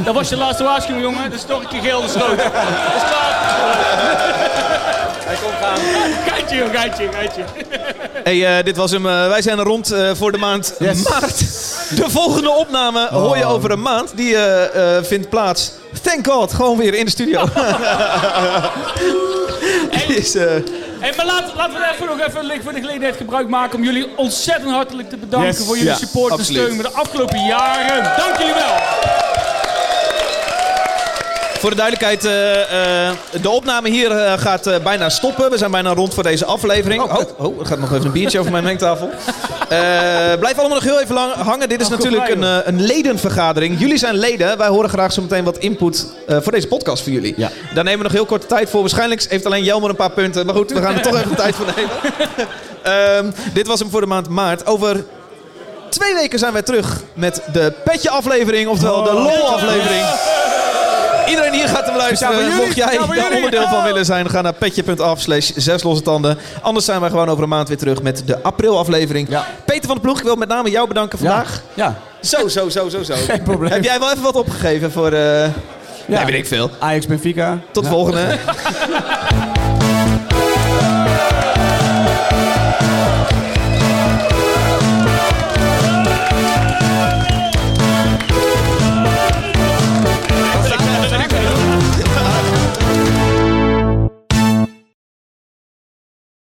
[SPEAKER 2] Dat was je laatste waarschuwing, jongen. Dat is toch een keer geel de sloot. Dat is klaar. Hij komt gaan. Geitje, joh, geitje, geitje.
[SPEAKER 1] Hey, eh, dit was hem. Eh, wij zijn er rond eh, voor de maand maart. De volgende opname hoor je over een maand. Die eh, eh, vindt plaats, thank god, gewoon weer in de studio. [laughs] Die is, eh,
[SPEAKER 2] Hey, maar laat, laten we even nog even voor de gelegenheid gebruik maken om jullie ontzettend hartelijk te bedanken
[SPEAKER 1] Yes.
[SPEAKER 2] voor jullie
[SPEAKER 1] Ja,
[SPEAKER 2] support en
[SPEAKER 1] absoluut.
[SPEAKER 2] steun de afgelopen jaren. Dank jullie wel.
[SPEAKER 1] Voor de duidelijkheid, eh, eh, de opname hier eh, gaat eh, bijna stoppen. We zijn bijna rond voor deze aflevering. Oh, oh, er gaat nog even een biertje over mijn mengtafel. Eh, blijf allemaal nog heel even lang hangen. Dit is
[SPEAKER 2] Oh, goed
[SPEAKER 1] natuurlijk een,
[SPEAKER 2] blij,
[SPEAKER 1] eh, een ledenvergadering. Jullie zijn leden. Wij horen graag zo meteen wat input eh, voor deze podcast voor jullie. Daar nemen we nog heel korte tijd voor. Waarschijnlijk heeft alleen Jelmer een paar punten. Maar goed, we gaan er toch even tijd voor nemen. Ehm, dit was hem voor de maand maart. Over twee weken zijn wij terug met de petje aflevering. Oftewel de lol aflevering. Iedereen hier gaat hem
[SPEAKER 3] Ja,
[SPEAKER 1] luisteren.
[SPEAKER 3] voor jullie.
[SPEAKER 1] Mocht jij
[SPEAKER 3] Ja, voor
[SPEAKER 1] daar
[SPEAKER 3] jullie.
[SPEAKER 1] onderdeel van willen zijn, ga naar petje.af slash zes losse tanden. Anders zijn wij gewoon over een maand weer terug met de april aflevering. Peter van de Ploeg, ik wil met name jou bedanken vandaag.
[SPEAKER 4] Ja.
[SPEAKER 1] Zo, zo, zo, zo, zo.
[SPEAKER 4] Geen probleem.
[SPEAKER 1] Heb jij wel even wat opgegeven voor... eh, Nee, weet ik veel.
[SPEAKER 4] Ajax Benfica.
[SPEAKER 1] Tot
[SPEAKER 4] Ja.
[SPEAKER 1] volgende.